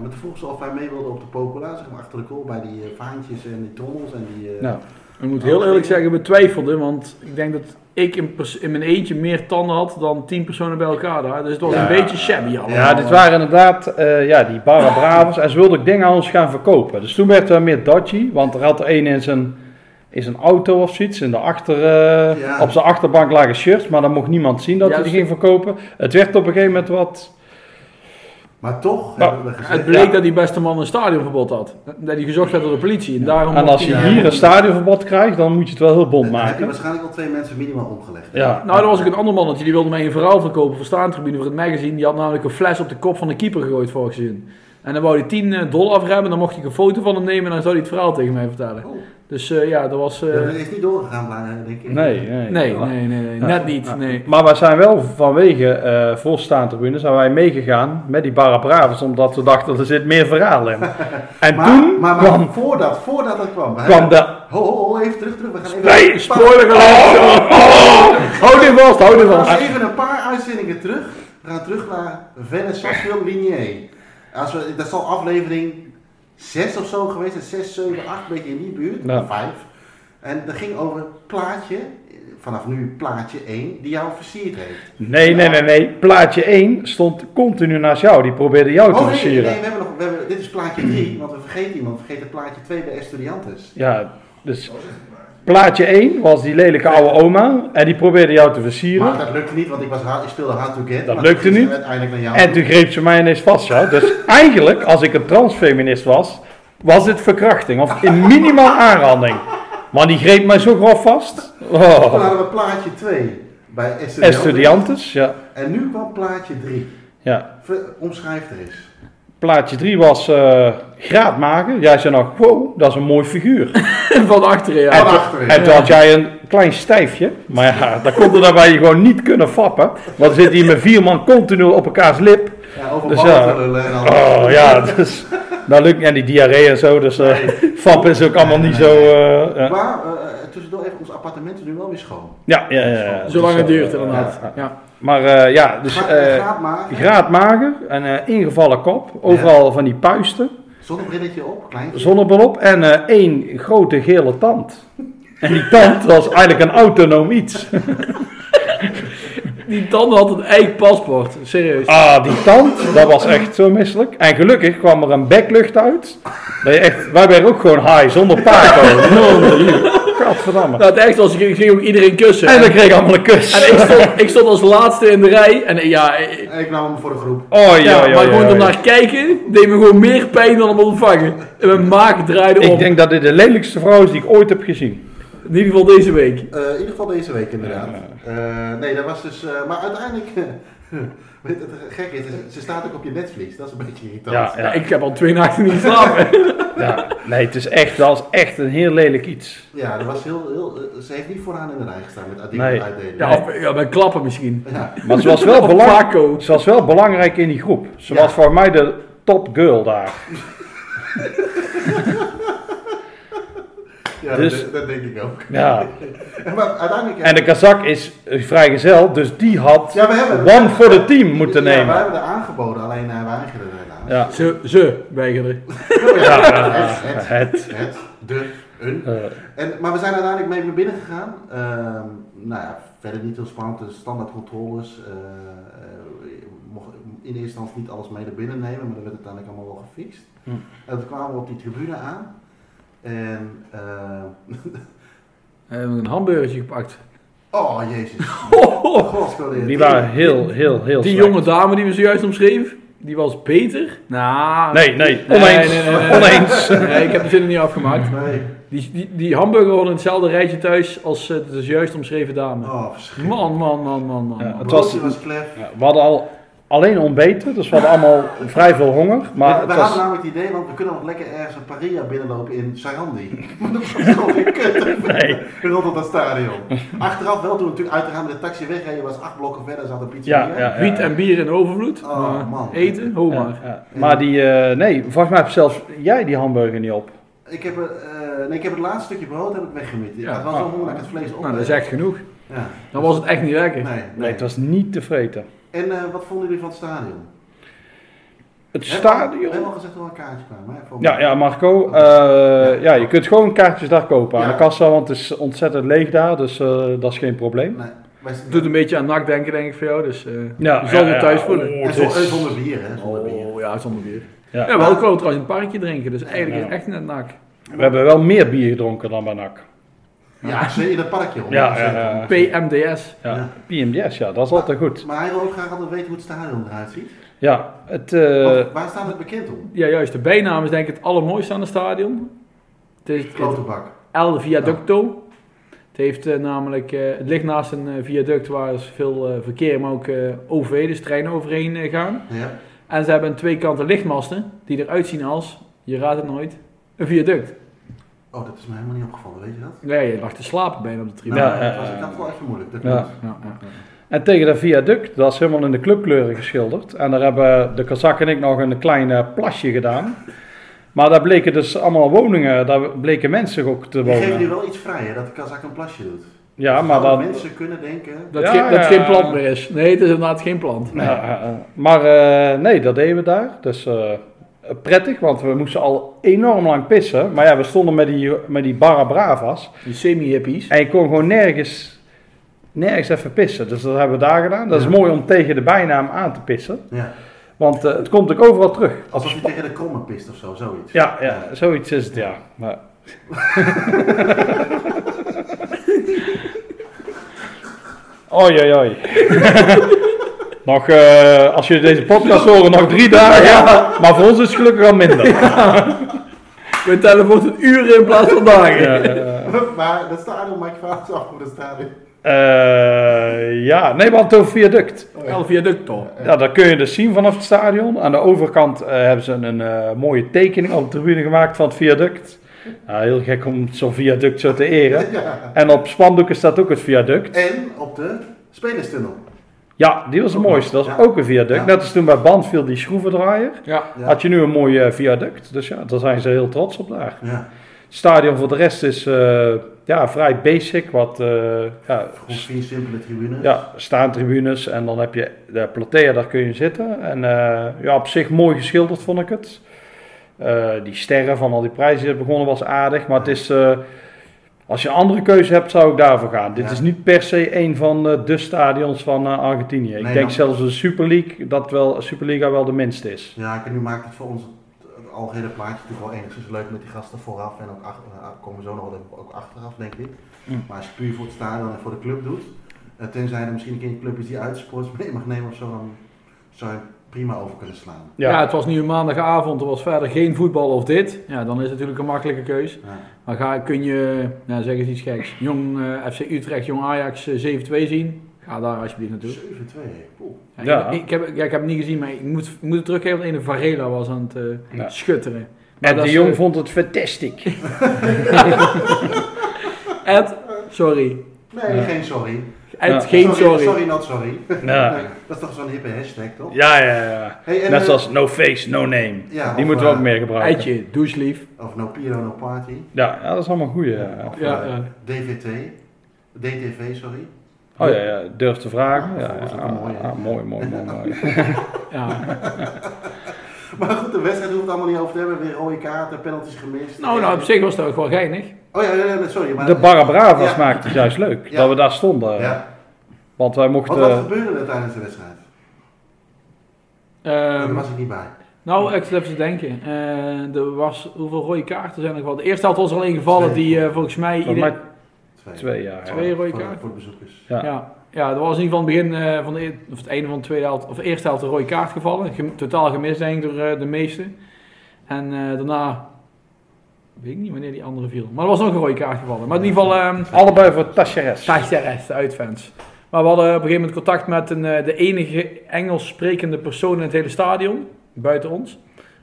B: maar toen vroegen ze of wij mee wilden op de Pocola, zeg maar achter de kool bij die eh, vaantjes en die trommels en die... eh,
A: Nou,
C: Ik moet heel eerlijk zeggen, we twijfelden, want ik denk dat ik in, pers- in mijn eentje meer tanden had dan tien personen bij elkaar daar. Dus het was
A: Ja.
C: een beetje shabby allemaal.
A: ja, dit waren inderdaad eh, ja, die Barra Bravers. En ze wilden ook dingen aan ons gaan verkopen. Dus toen werd er meer dodgy. Want er had er een in zijn, in zijn auto of zoiets. In de achter, eh,
B: Ja.
A: Op zijn achterbank lagen shirts. Maar dan mocht niemand zien dat
C: Ja,
A: hij die
C: dus-
A: ging verkopen. Het werd op een gegeven moment wat...
B: Maar toch
A: Nou,
B: hebben we
C: Het
B: gezegd...
C: bleek
A: Ja.
C: dat die beste man een stadionverbod had. Dat hij gezocht werd door de politie. En, daarom
A: En
C: mocht
A: als je
C: hij-
A: hier een stadionverbod krijgt, dan moet je het wel heel bond
B: Eh, dan heb je
A: maken.
B: waarschijnlijk al twee mensen minimaal omgelegd.
A: Ja.
C: Nou, er was ook een ander mannetje, die wilde mij een verhaal verkopen voor staantribune voor het magazine. Die had namelijk een fles op de kop van de keeper gegooid vorig seizoen. En dan wou hij 10 dollar voor hebben, dan mocht ik een foto van hem nemen en dan zou hij het verhaal tegen mij vertellen.
B: Oh.
C: Dus eh, ja, dat was... eh,
B: Dat is niet doorgegaan, blij- denk ik.
A: Nee, eh, nee.
C: nee,
A: Ja.
C: nee, nee, nee,
A: Ja.
C: net niet, nee.
A: Maar wij zijn wel vanwege eh volstaand tribune zijn wij meegegaan met die Barra Bravers, omdat we dachten er zit meer verhaal in. En
B: Maar,
A: toen
B: maar, maar
A: kwam,
B: voordat, voordat dat kwam... hè,
A: kwam de.
B: Ho, ho, ho, even terug, terug. We gaan even...
A: Nee,
B: Pa-
A: spoiler alert!
B: Oh,
A: Houd dit vast, houd dit
B: We gaan
A: vast.
B: even een paar uitzendingen terug. We gaan terug naar Venezuela Ligné. Als we, dat zal aflevering 6 of zo geweest zijn. 6, 7, 8, een beetje in die buurt.
A: Ja.
B: 5. En dat ging over plaatje, eh, vanaf nu plaatje 1, die jou versierd heeft.
A: Nee, nee, nee, nee. Plaatje 1 stond continu naast jou. Die probeerde jou te
B: Oh nee, nee,
A: versieren.
B: we hebben nog, we hebben, dit is plaatje 3, want we vergeten iemand. We vergeten plaatje 2 bij Estudiantes.
A: Ja, dus plaatje 1 was die lelijke oude oma. En die probeerde jou te versieren.
B: Maar dat lukte niet, want ik, was hard, ik speelde hard to get.
A: Dat
B: maar
A: lukte
B: ging
A: niet.
B: Uiteindelijk naar jou.
A: En toen greep ze mij ineens vast, ja. Dus eigenlijk, als ik een transfeminist was, was dit verkrachting. Of in minimaal aanranding. Maar die greep mij zo grof vast.
B: Toen
A: Oh.
B: hadden we plaatje 2 bij Estudiantes.
A: Estudiantes, ja.
B: En nu kwam plaatje 3.
A: ja.
B: Ver- Omschrijf er eens.
A: Plaatje 3 was eh graadmaker. Jij zei nog, wow, dat is een mooi figuur.
C: Van achteren, ja.
B: Van
A: toen-
B: achteren.
A: En toen had jij een klein stijfje. Maar ja, dat komt er daarbij je gewoon niet kunnen fappen. Want er zit hier met vier man continu op elkaars lip.
B: Ja, over
A: Dus
B: dus
A: ja.
B: lullen en al.
A: Oh ja, dus... Dat lukt niet. En die diarree en zo, dus eh fappen is ook allemaal niet zo... eh, ja.
B: Maar eh, tussendoor even, ons appartement is nu wel weer schoon.
A: Ja, ja, ja, ja.
C: Zolang
A: Dus,
C: het
A: eh,
C: duurt, inderdaad.
A: ja.
C: Ja.
A: Maar eh, ja, dus
B: Gaat,
A: eh
B: gaat maar.
A: graadmager, een eh, ingevallen kop, overal van die puisten,
B: Zonnebrilletje op, klein.
A: zonnebril op en eh, één grote gele tand. En die tand was eigenlijk een autonoom iets.
C: Die tanden had een eigen paspoort, serieus.
A: Ah, die tand, dat was echt zo misselijk. En gelukkig kwam er een beklucht uit. Dat je echt, wij werden ook gewoon high, zonder paco. Godverdamme.
C: Nou, het ergste was, ik ik ging ook iedereen kussen.
A: En
C: En,
A: we kregen allemaal een kus.
C: ik, stond, ik stond als laatste in de rij. En eh, ja, eh, ja,
B: En ik nam hem voor de groep.
A: Oh, ja, ja,
C: maar gewoon
A: ja, ja.
C: ernaar kijken, deed me gewoon meer pijn dan hem ontvangen. En mijn maag draaide om.
A: Ik denk dat dit de lelijkste vrouw is die ik ooit heb gezien.
C: In ieder geval deze week.
B: Eh, in ieder geval deze week inderdaad. Eh, nee, dat was dus... eh, maar uiteindelijk... weet je, het gek is, ze- ze staat ook op je netvlies. Dat is een beetje irritant.
A: Ja,
C: Ja, ik heb al twee nachten niet geslapen.
A: Ja, nee, het is echt, dat is echt een heel lelijk iets.
B: Ja, dat was heel... heel eh, ze heeft niet vooraan in de rij gestaan met Adil
A: Nee.
B: uitdelen.
C: ja, of, ja, bij klappen misschien.
B: Ja.
A: Maar ze was wel,
C: Of
A: belang...
C: Paco.
A: ze was wel belangrijk in die groep. Ze
B: Ja.
A: was voor mij de top girl daar.
B: Ja, dat
A: Dus-
B: denk- dat, denk ik ook.
A: Ja.
B: Maar uiteindelijk...
A: En de kazak is eh, vrijgezel, dus die had
B: Ja, we hebben...
A: one for the team moeten
B: Ja, we
A: nemen.
B: hebben er aangeboden, alleen hij weigerde er helaas.
A: Ja.
C: Ze, ze weigerde.
B: Ja,
A: Ja,
B: het, het,
A: het.
B: het, de, een.
A: eh,
B: En, maar we zijn uiteindelijk mee naar binnen gegaan. Ehm, nou ja, verder niet heel spannend. De standaard controles. eh, eh, mocht in eerste instantie niet alles mee naar binnen nemen, maar dat werd uiteindelijk allemaal wel gefixt.
A: Hm.
B: En toen kwamen we op die tribune aan. En, eh,
C: We hebben een hamburgertje gepakt.
B: oh jezus. God,
A: eh, die waren heel, heel, heel
C: Die
A: slecht.
C: jonge dame die we zojuist omschreef, die was beter. Nou,
A: Nee, nee,
C: Nee,
A: oneens.
C: nee, nee, nee.
A: Oneens.
C: Nee, ik heb de zin er niet afgemaakt.
B: Nee.
C: Die, die, die hamburger hoorde in hetzelfde rijtje thuis als eh, de zojuist omschreven dame.
B: Oh, verschrikkelijk.
C: Man, man, man, man, man.
A: Ja,
C: man.
A: het
B: Het
A: was-
B: was klef.
A: Ja, We hadden al alleen ontbeten, dus we hadden allemaal vrij veel honger. Maar
B: we
A: het
B: hadden
A: was,
B: namelijk het idee, want we kunnen nog lekker ergens een paria binnenlopen in Sarandi. Maar dat was gewoon geen kut.
A: Nee.
B: Rond op dat stadion. Achteraf wel, toen we natuurlijk uiteraard met de taxi wegreden, was acht blokken verder, zat een pizzeria.
A: ja, ja, ja.
C: Wiet en bier in overvloed.
B: Oh,
C: maar
B: man.
C: Eten, ho
A: Ja,
C: maar.
A: ja. Maar die, eh, nee, volgens mij heb zelfs jij die hamburger niet op.
B: Ik heb, er, eh, nee, ik heb het laatste stukje brood heb ik weggemid. Ik
C: Ja.
B: had wel zo
A: Ah.
B: honger dat ik het vlees op.
C: Nou, dat is echt genoeg.
B: Ja.
C: Dan was het echt niet lekker.
B: Nee, nee.
A: Nee, het was niet te vreten.
B: En eh, wat vonden jullie van het stadion?
A: Het
B: We hebben
A: stadion.
B: al gezegd dat we een kaartje kwamen. Hè, voor
A: Ja,
B: mij.
A: ja Marco, eh, ja, je kunt gewoon kaartjes daar kopen aan
B: Ja.
A: de kassa, want het is ontzettend leeg daar, dus eh, dat is geen probleem.
B: Nee, wij-
C: Het doet een beetje aan NAC denken, denk ik, voor jou. Dus eh,
A: Ja,
C: je zal
A: ja,
C: je
A: ja.
C: thuis voelen.
A: Oh,
B: En
A: het
B: zo-
A: is-
B: en zonder bier, hè? Zonder bier.
C: Oh ja, zonder bier.
A: ja.
C: Ja, we hadden ook trouwens in het parkje drinken, dus eigenlijk
A: Ja.
C: is het echt net NAC.
A: We hebben wel meer bier gedronken dan bij NAC.
B: Ja, ze- in het parkje. hoor.
A: Ja, ja, ja.
C: PMDS.
A: Ja, PMDS, ja, dat is altijd goed.
B: Maar hij wil ook graag altijd weten hoe het stadion eruit ziet.
A: Ja, het, eh,
B: Want Oh, waar staat het bekend om?
C: Ja, juist. De bijnaam is denk ik het allermooiste aan het stadion. Het is het
B: Grote bak.
C: El Viaducto. Het, heeft, eh, namelijk, eh, het ligt naast een eh, viaduct waar is veel eh, verkeer, maar ook eh, OV, dus treinen overheen eh, gaan.
B: Ja.
C: En ze hebben aan twee kanten lichtmasten die eruit zien als, je raadt het nooit, een viaduct.
B: Oh, dat is mij helemaal niet opgevallen, weet je dat?
C: Nee, je lag te slapen bijna op de
B: Nou,
C: tribune.
A: Ja,
B: dat
A: ja,
B: was, ik
A: ja.
B: had het wel even moeilijk. Dat
A: Ja.
B: klopt.
C: Ja, ja, ja.
A: en tegen dat viaduct, dat is helemaal in de clubkleuren geschilderd. En daar hebben de Kazak en ik nog een klein eh, plasje gedaan. Maar daar bleken dus allemaal woningen, daar bleken mensen ook te
B: Die geven nu
A: wonen.
B: wel iets vrij, hè, dat de Kazak een plasje doet. Dus
A: Ja, maar
B: Zouden
A: dan,
B: mensen kunnen denken...
C: Dat,
A: Ja,
C: ge- dat
A: ja.
C: geen plant meer is. Nee, het is inderdaad geen plant.
A: Ja, eh, eh, maar eh, nee, dat deden we daar. Dus eh, eh, prettig, want we moesten al enorm lang pissen. Maar ja, we stonden met die, met die Barra Bravas.
C: Die semi-hippies.
A: En je kon gewoon nergens, nergens even pissen. Dus dat hebben we daar gedaan. Dat is mooi om tegen de bijnaam aan te pissen.
B: Ja,
A: Want eh, het komt ook overal terug.
B: alsof je tegen de kromme pist of zo, zoiets.
A: Ja, ja zoiets is het, ja. Maar, oei, oei, oei. nog, eh, als jullie deze podcast horen, nog drie dagen. Maar voor ons is het gelukkig al minder.
C: We tellen voor een uur in plaats van dagen.
A: Ja, eh,
B: maar dat stadion maakt vaak af voor dat stadion.
A: eh, ja, nee, want het over viaduct.
C: El Viaducto.
A: Ja, dat kun je dus zien vanaf het stadion. Aan de overkant eh, hebben ze een, eh, mooie tekening op de tribune gemaakt van het viaduct. Nou, heel gek om zo'n viaduct zo te eren.
B: Ja.
A: En op spandoeken staat ook het viaduct.
B: En op de spelerstunnel.
A: Ja, die was het mooiste. Dat is
B: Ja.
A: ook een viaduct.
B: Ja.
A: Net als toen bij Band viel die schroevendraaier.
C: Ja.
B: Ja.
A: Had je nu een mooi eh, viaduct. Dus ja, daar zijn ze heel trots op daar.
B: Ja,
A: Het stadion voor de rest is eh, ja, vrij basic. Wat eh, ja,
B: gewoon vier simpele tribunes.
A: ja, staantribunes en dan heb je de platea, daar kun je zitten. En eh, ja, op zich mooi geschilderd vond ik het. Eh, die sterren van al die prijzen die begonnen was aardig. Maar het is, eh, als je een andere keuze hebt, zou ik daarvoor gaan. Dit
B: Ja.
A: is niet per se een van eh, de stadions van eh, Argentinië. ik
B: Nee, nou-
A: denk
B: dan-
A: zelfs de Super League, dat wel, Superliga wel de minste is.
B: Ja, en nu maakt het voor ons het, het algehele plaatje natuurlijk wel enigszins leuk met die gasten vooraf. En ook ach- eh, komen we zo nog wel even- ook achteraf, denk ik.
A: Mm.
B: Maar als je het puur voor het stadion en voor de club doet, eh, tenzij er misschien een keer een club is die uitsports mee mag nemen of zo, dan zou je prima over kunnen slaan.
C: Ja.
A: Ja.
C: het was nu een maandagavond, er was verder geen voetbal of dit. Ja, dan is het natuurlijk een makkelijke keus.
B: Ja.
C: Maar ga, kun je, nou zeg eens iets geks, jong eh, FC Utrecht, jong Ajax eh, 7-2 zien? Ga daar alsjeblieft naartoe.
B: 7-2, poeh.
C: Ja,
A: Ja.
C: Ik, ik heb, ja, ik heb het niet gezien, maar ik moet, ik moet het teruggeven dat een Varela was aan het eh,
A: Ja.
C: schutteren. Maar
A: En
C: dat
A: de
C: is,
A: Jong
C: eh,
A: vond het fantastisch.
C: Ed, sorry.
B: Nee, geen sorry.
C: Ed,
A: Ja.
C: geen sorry.
B: Sorry, not sorry.
A: Ja.
B: Nee, dat is toch zo'n hippe hashtag, toch?
A: Ja, ja, ja.
B: Hey, en,
A: Net
B: eh,
A: zoals no face, no name.
B: Ja,
A: die
B: of,
A: moeten we ook
B: eh,
A: meer gebruiken.
C: Eitje, douchelief.
B: Of no Piro, no party.
A: Ja, ja, dat is allemaal goed.
B: Of,
C: Ja,
B: eh,
C: ja.
B: DVT. DTV, sorry.
A: Oh ja, ja, durf te vragen. Ja,
B: Ah, dat is
A: ja,
B: ook
A: ah,
B: mooi, hè?
A: ah, mooi, mooi, mooi, mooi.
C: Ja.
B: Maar goed, de wedstrijd hoeft het allemaal niet over te hebben. Weer rode kaarten, penalties gemist.
C: Nou, nou, op zich was dat ook wel geinig.
B: Oh ja, ja, ja, sorry. Maar,
A: De Barra Bravas
B: Ja.
A: maakte het juist leuk
B: Ja.
A: dat we daar stonden.
B: Ja.
A: Want wij
B: Wat,
A: mochten.
C: Eh,
B: wat gebeurde er tijdens de wedstrijd?
C: Ehm,
B: Daar was ik niet bij.
C: Nou, ik zit even te denken. Eh, er was, hoeveel rode kaarten zijn er gevallen? De eerste had ons al ingevallen
B: Twee.
C: die eh, volgens mij...
A: volgens
C: ieder-
A: mij twee jaar.
C: Twee. rode
B: voor,
C: kaarten.
B: Voor de bezoekers.
A: Ja.
C: ja. ja, er was in ieder geval in het begin eh, van de, eer- of het einde van de tweede helft, of de eerste helft, een rode kaart gevallen. Gem- totaal gemist denk ik door eh, de meesten. En eh, daarna, weet ik niet wanneer die andere viel. Maar er was nog een rode kaart gevallen. Maar in ieder geval, ehm
A: Allebei voor Tacheres.
C: Tacheres, de uitfans. Maar we hadden op een gegeven moment contact met een, eh, de enige Engels sprekende persoon in het hele stadion, buiten ons.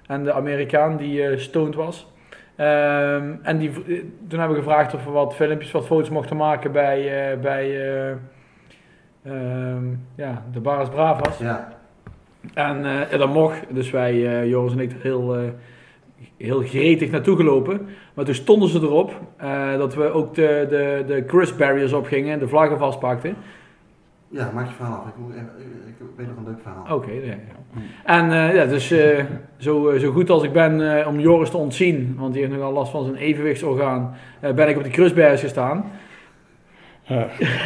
C: En de Amerikaan die eh stoned was. Ehm, en die, v- eh, toen hebben we gevraagd of we wat filmpjes, wat foto's mochten maken bij, eh, bij eh, ehm, ja, de Baras Bravas.
B: Ja,
C: En eh, ja, dat mocht. Dus wij, eh, Joris en ik, er heel, eh, heel gretig naartoe gelopen. Maar toen stonden ze erop eh, dat we ook de, de, de crust barriers opgingen en de vlaggen vastpakten.
B: ja maak je verhaal af. Ik, moet even- ik weet nog een leuk verhaal.
C: Oké, ja, ja. En eh, ja, dus eh, zo, eh, zo goed als ik ben eh, om Joris te ontzien, want die heeft nogal last van zijn evenwichtsorgaan, eh, ben ik op de crust barriers gestaan.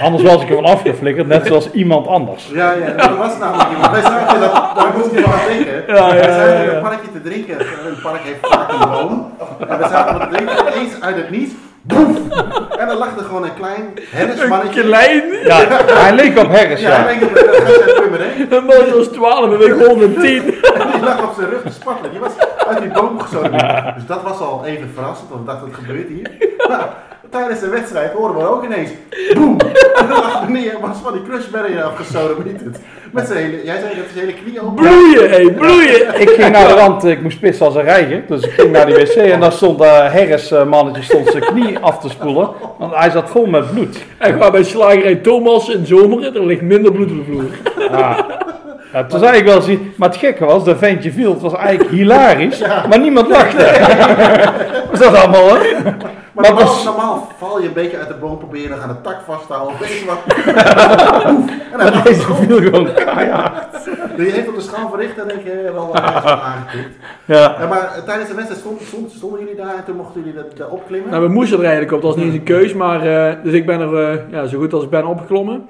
A: Anders was ik er van afgeflikkerd, net zoals iemand anders.
B: Ja, ja, dat was namelijk iemand. Wij zaten dat, daar moest je van drinken.
C: Ja, ja,
B: wij zaten in
C: ja, ja.
B: een parkje te drinken. Een park heeft vaak een boom. En we zaten wat te drinken. Ineens uit het niets. Boef! En dan lag er gewoon een klein hennismannetje.
C: Klein,
A: Ja, hij leek op Harris,
B: Ja,
A: ja.
B: ik denk dat dat gaat zijn hè?
C: een man was 12 en ik 110.
B: Die lag op zijn rug te spartelen. Die was uit die boom gezogen. Dus dat was al even verrassend, want we dachten, wat gebeurt hier? Maar tijdens de wedstrijd hoorden we ook ineens... Boem! En dan lag meneer was van die crush barrier afgesodemieterd. Met zijn hele... Jij zei dat zijn hele knieën op...
C: Bloeien, hé, bloeien.
A: Ik ging naar de rand, ik moest pissen als een reiger. Dus ik ging naar die wc en daar stond eh Harris eh, mannetje stond zijn knie af te spoelen. Want hij zat vol met bloed.
C: En qua bij slagerij Thomas in Zomeren, er ligt minder bloed op de vloer.
A: Ja. Ja, toen zei ik wel zien, maar het gekke was, dat ventje viel, het was eigenlijk hilarisch, maar niemand lachte. Was dat allemaal hoor?
B: Maar
A: Maar
B: normaal,
A: was-
B: normaal val je een beetje uit de boom proberen, dan aan de tak vasthouden of weet je wat. en dan
A: Maar deze viel gewoon keihard.
B: je heeft op de schaal verricht en denk je, hey, wel aangetikt.
A: Ja.
B: Ja, maar eh, tijdens de wedstrijd stond- stond- stonden jullie daar en toen mochten jullie dat, eh, opklimmen.
C: Nou, we moesten er eigenlijk op, dat was niet eens een keus, maar eh, dus ik ben er eh, ja, zo goed als ik ben opgeklommen.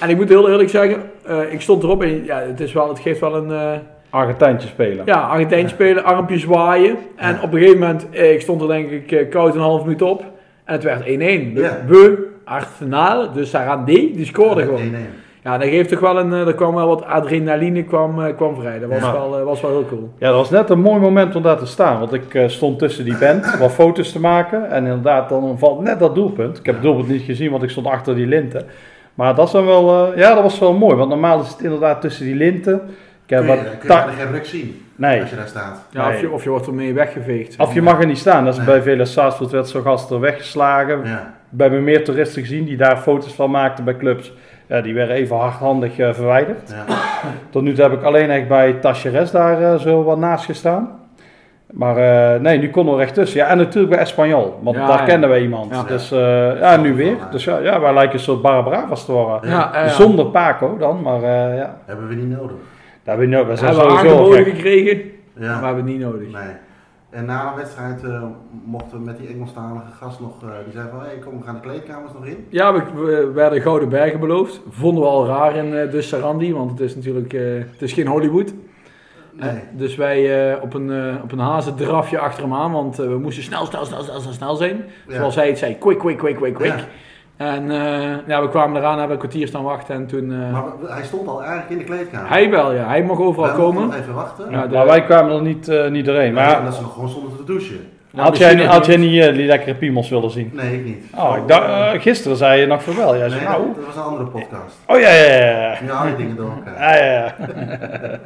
C: En ik moet heel eerlijk zeggen, eh, ik stond erop en ja, het, is wel, het geeft wel een eh
A: Argentijntje spelen.
C: ja, Argentijn spelen, armpje zwaaien. En op een gegeven moment, eh, ik stond er denk ik eh, koud een half minuut op en het werd 1-1.
B: Ja.
C: We, Arsenal, dus Sarandé, die scoorde gewoon.
B: Nee, nee.
C: Ja, dat geeft toch wel een, eh, er kwam wel wat adrenaline kwam, eh, kwam vrij, dat was,
A: Ja.
C: wel, eh, was wel heel cool.
A: Ja, dat was net een mooi moment om daar te staan. Want ik eh, stond tussen die band wat foto's te maken. En inderdaad, dan valt net dat doelpunt. Ik heb het doelpunt niet gezien, want ik stond achter die linten. Maar dat, is dan wel, eh, ja, dat was wel mooi. Want normaal is het inderdaad tussen die linten. Ik
B: Kun
A: heb
B: je,
A: wat
B: kun je
A: ta-
B: bijna geen ruk zien
A: nee,
B: als je daar staat.
C: Ja,
A: Nee.
C: of, je, of je wordt ermee weggeveegd.
A: of je mag er niet staan. Dat is
B: Nee.
A: bij vele Saasvoort werd zo'n gast er weggeslagen.
B: Ja.
A: Bij me meer toeristen gezien die daar foto's van maakten bij clubs. Ja, die werden even hardhandig eh, verwijderd.
B: Ja.
A: Tot nu toe heb ik alleen echt bij Tacheres daar eh, zo wat naast gestaan. Maar eh, nee, nu konden we recht tussen. Ja, en natuurlijk bij Espanyol, want
C: Ja,
A: daar
C: ja.
A: kenden we iemand.
C: Ja.
A: Dus eh, ja, nu weer. Dus ja, ja, wij lijken een soort Barabravas te worden.
C: Ja, eh, ja.
A: Zonder Paco dan, maar eh, ja.
B: Hebben we niet nodig.
A: Daar ben ik ook. We zijn
C: hebben we
A: sowieso
C: aangeboden
A: gek.
C: gekregen, maar we
B: Ja.
C: hebben het niet nodig.
B: Nee. En na de wedstrijd eh, mochten we met die Engelstalige gast nog, eh, die zei van, hé hey, kom, we gaan de kleedkamers nog in.
C: Ja, we, we werden Gouden Bergen beloofd. Vonden we al raar in eh, de Sarandi, want het is natuurlijk eh, het is geen Hollywood.
B: Nee.
C: Eh, dus wij eh, op, een, eh op een hazendrafje achter hem aan, want eh, we moesten snel, snel, snel, snel, snel, snel zijn.
B: Ja.
C: Zoals hij het zei, quick, quick, quick, quick, quick.
B: Ja.
C: En eh, ja, we kwamen eraan, hebben een kwartier staan wachten en toen... eh,
B: Maar we- hij stond al eigenlijk in de kleedkamer.
C: hij wel, ja. Hij mag overal
B: Wij mochten
C: komen.
B: nog Even wachten.
C: Ja, de-
A: Maar wij kwamen er niet, eh, niet doorheen.
B: Maar
A: Maar
B: dat ze nog gewoon stonden te douchen.
C: Nou,
A: had, jij,
C: misschien
A: niet-
C: nog
A: had jij niet eh, die lekkere piemels willen zien?
B: Nee, ik niet.
A: Oh, ik dacht, eh, gisteren zei je nog van wel. Jij
B: nee,
A: zei,
B: dat-
A: nou,
B: dat was een andere podcast.
A: oh ja, ja, ja, ja.
B: Nu haal je dingen door elkaar.
A: Ja, ja, Ah, ja.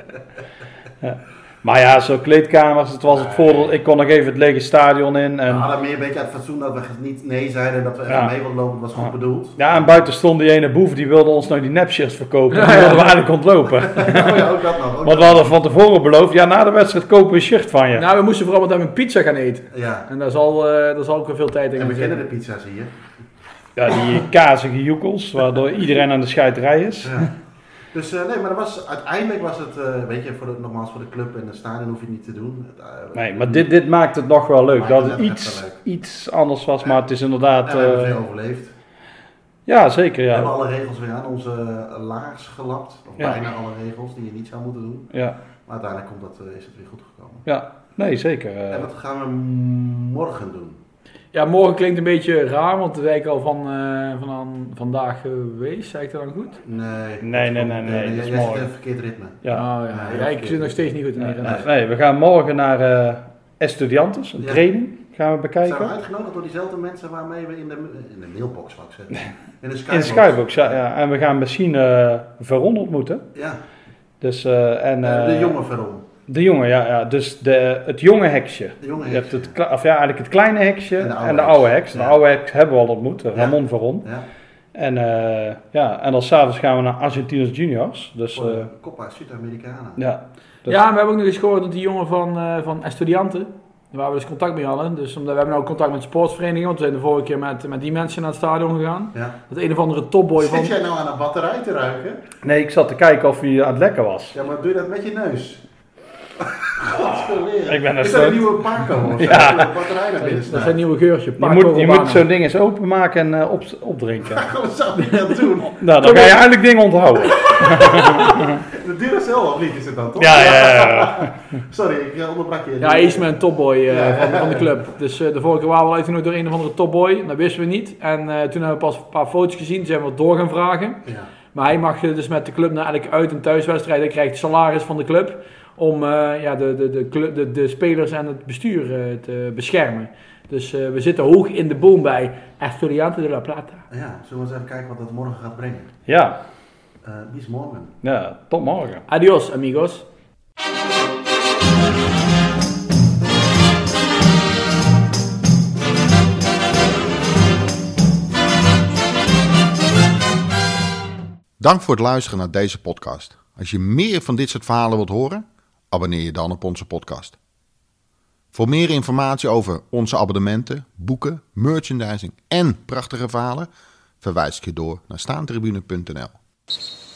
A: Ja. Maar ja, zo'n kleedkamers, het was het voordeel. Ik kon nog even het lege stadion in.
B: We
A: En,
B: hadden meer een beetje uit fatsoen dat we niet nee zeiden, dat we even
A: Ja.
B: mee wilden lopen, dat was goed
A: Ja.
B: bedoeld.
A: ja, en buiten stond die ene boef, die wilde ons nou die nepshirts verkopen. Die wilden we eigenlijk ontlopen.
B: Oh ja, ook dat nog. ook
A: Want we
B: dat nog.
A: hadden van tevoren beloofd, ja, na de wedstrijd kopen we een shirt van je.
C: Nou, we moesten vooral wat aan een pizza gaan eten.
B: Ja,
C: En daar zal, eh, daar zal ook wel veel tijd in
B: en we
C: zitten.
B: kennen de pizza's hier.
A: Ja, die kazige joekels, waardoor iedereen aan de scheiterij is.
B: Ja. Dus eh, nee, maar dat was, uiteindelijk was het, eh, weet je, voor de, nogmaals voor de club en de stadion hoef je het niet te doen. Het, eh,
A: Nee, maar dit, dit maakt het nog wel leuk.
B: Maakt
A: Dat
B: het
A: het
B: net
A: iets,
B: even leuk.
A: iets anders was, maar het is
B: en
A: inderdaad...
B: we hebben
A: eh,
B: veel overleefd.
A: ja, zeker,
B: We
A: ja.
B: hebben alle regels weer aan onze eh, laars gelapt. Of
A: Ja.
B: bijna alle regels die je niet zou moeten doen.
A: Ja,
B: Maar uiteindelijk komt dat, eh, is het weer goed gekomen.
A: ja. nee, zeker. eh.
B: En wat gaan we morgen doen?
C: Ja, morgen klinkt een beetje raar, want we zijn al van, eh, van aan- vandaag geweest. Zei ik dat dan goed?
B: Nee.
A: Nee, nee, nee, nee, dat
B: Eh, jij-
A: is
B: jij zit
A: morgen.
B: in een verkeerd ritme.
A: ja.
C: Oh, ja.
B: Nee,
C: ja, ik
B: oké.
C: zit nog steeds niet goed in die
A: Nee,
C: relatie.
A: nee, we gaan morgen naar eh Estudiantes, een
B: Ja.
A: training. Gaan we
B: Zijn we
A: bekijken.
B: uitgenodigd door diezelfde mensen waarmee we in de, in de mailbox, wat ik zeggen. In de Skybox.
A: In de Skybox, ja, ja. En we gaan misschien eh Veron ontmoeten.
B: Ja,
A: Dus, eh, en,
B: eh, de
A: eh,
B: jongen Veron.
A: De jongen, ja. ja. Dus de, het jonge heksje.
B: De jonge
A: Je hebt
B: heksje.
A: het, kle- of ja, eigenlijk het kleine heksje
B: En
A: en
B: de
A: de
B: oude
A: oude, heks. De
B: Ja.
A: oude heks hebben we al ontmoet, eh, Ramon Veron.
B: Ja,
A: En, eh, ja, en dan s'avonds gaan we naar Argentinos Juniors. Dus
B: voor
A: eh,
B: de Copa Sudamericana.
A: ja, Dat-
C: Ja, we hebben ook nog eens gehoord dat die jongen van, eh van Estudianten, waar we dus contact mee hadden. Dus omdat we hebben nou contact met de sportsverenigingen, want we zijn de vorige keer met, met die mensen naar het stadion gegaan.
B: Ja.
C: Dat een of andere topboy van...
B: Zit jij nou aan een batterij te ruiken?
A: nee, ik zat te kijken of hij aan het lekken was.
B: Ja, maar doe je dat met je neus? Godverdomme.
A: Ik ben er
B: Is dat een
A: zo-
B: nieuwe Paco of zo? Ja. Een batterij naar binnen
C: Dat zijn
B: staan.
C: nieuwe geurtje.
A: Je moet, je moet zo'n ding eens openmaken en eh, op, opdrinken.
B: Dat zou ik niet aan doen.
A: nou, dan ga je eigenlijk dingen onthouden.
B: De Duracell of niet is het dan toch?
A: ja, ja, ja, ja.
B: Sorry, ik eh, onderbrak je.
C: Ja, Eastman, een topboy eh,
B: Ja, ja,
C: van,
B: ja.
C: van de club. Dus eh, de vorige keer waren we al uitgenodigd door een of andere topboy. Dat wisten we niet. En eh, toen hebben we pas een paar foto's gezien. Toen zijn we wat door gaan vragen.
B: Ja.
C: Maar hij mag eh, dus met de club naar eigenlijk uit- en thuiswedstrijden. Hij krijgt salaris van de club om eh, ja, de, de, de, club, de, de spelers en het bestuur eh, te beschermen. Dus eh, we zitten hoog in de boom bij Estudiante de la Plata.
B: Ja, zullen we eens even kijken wat dat morgen gaat brengen?
A: Ja,
B: Eh, wie is morgen?
A: ja, tot morgen.
C: Adios, amigos.
D: Dank voor het luisteren naar deze podcast. Als je meer van dit soort verhalen wilt horen, abonneer je dan op onze podcast. Voor meer informatie over onze abonnementen, boeken, merchandising en prachtige verhalen, verwijs ik je door naar staantribune.nl.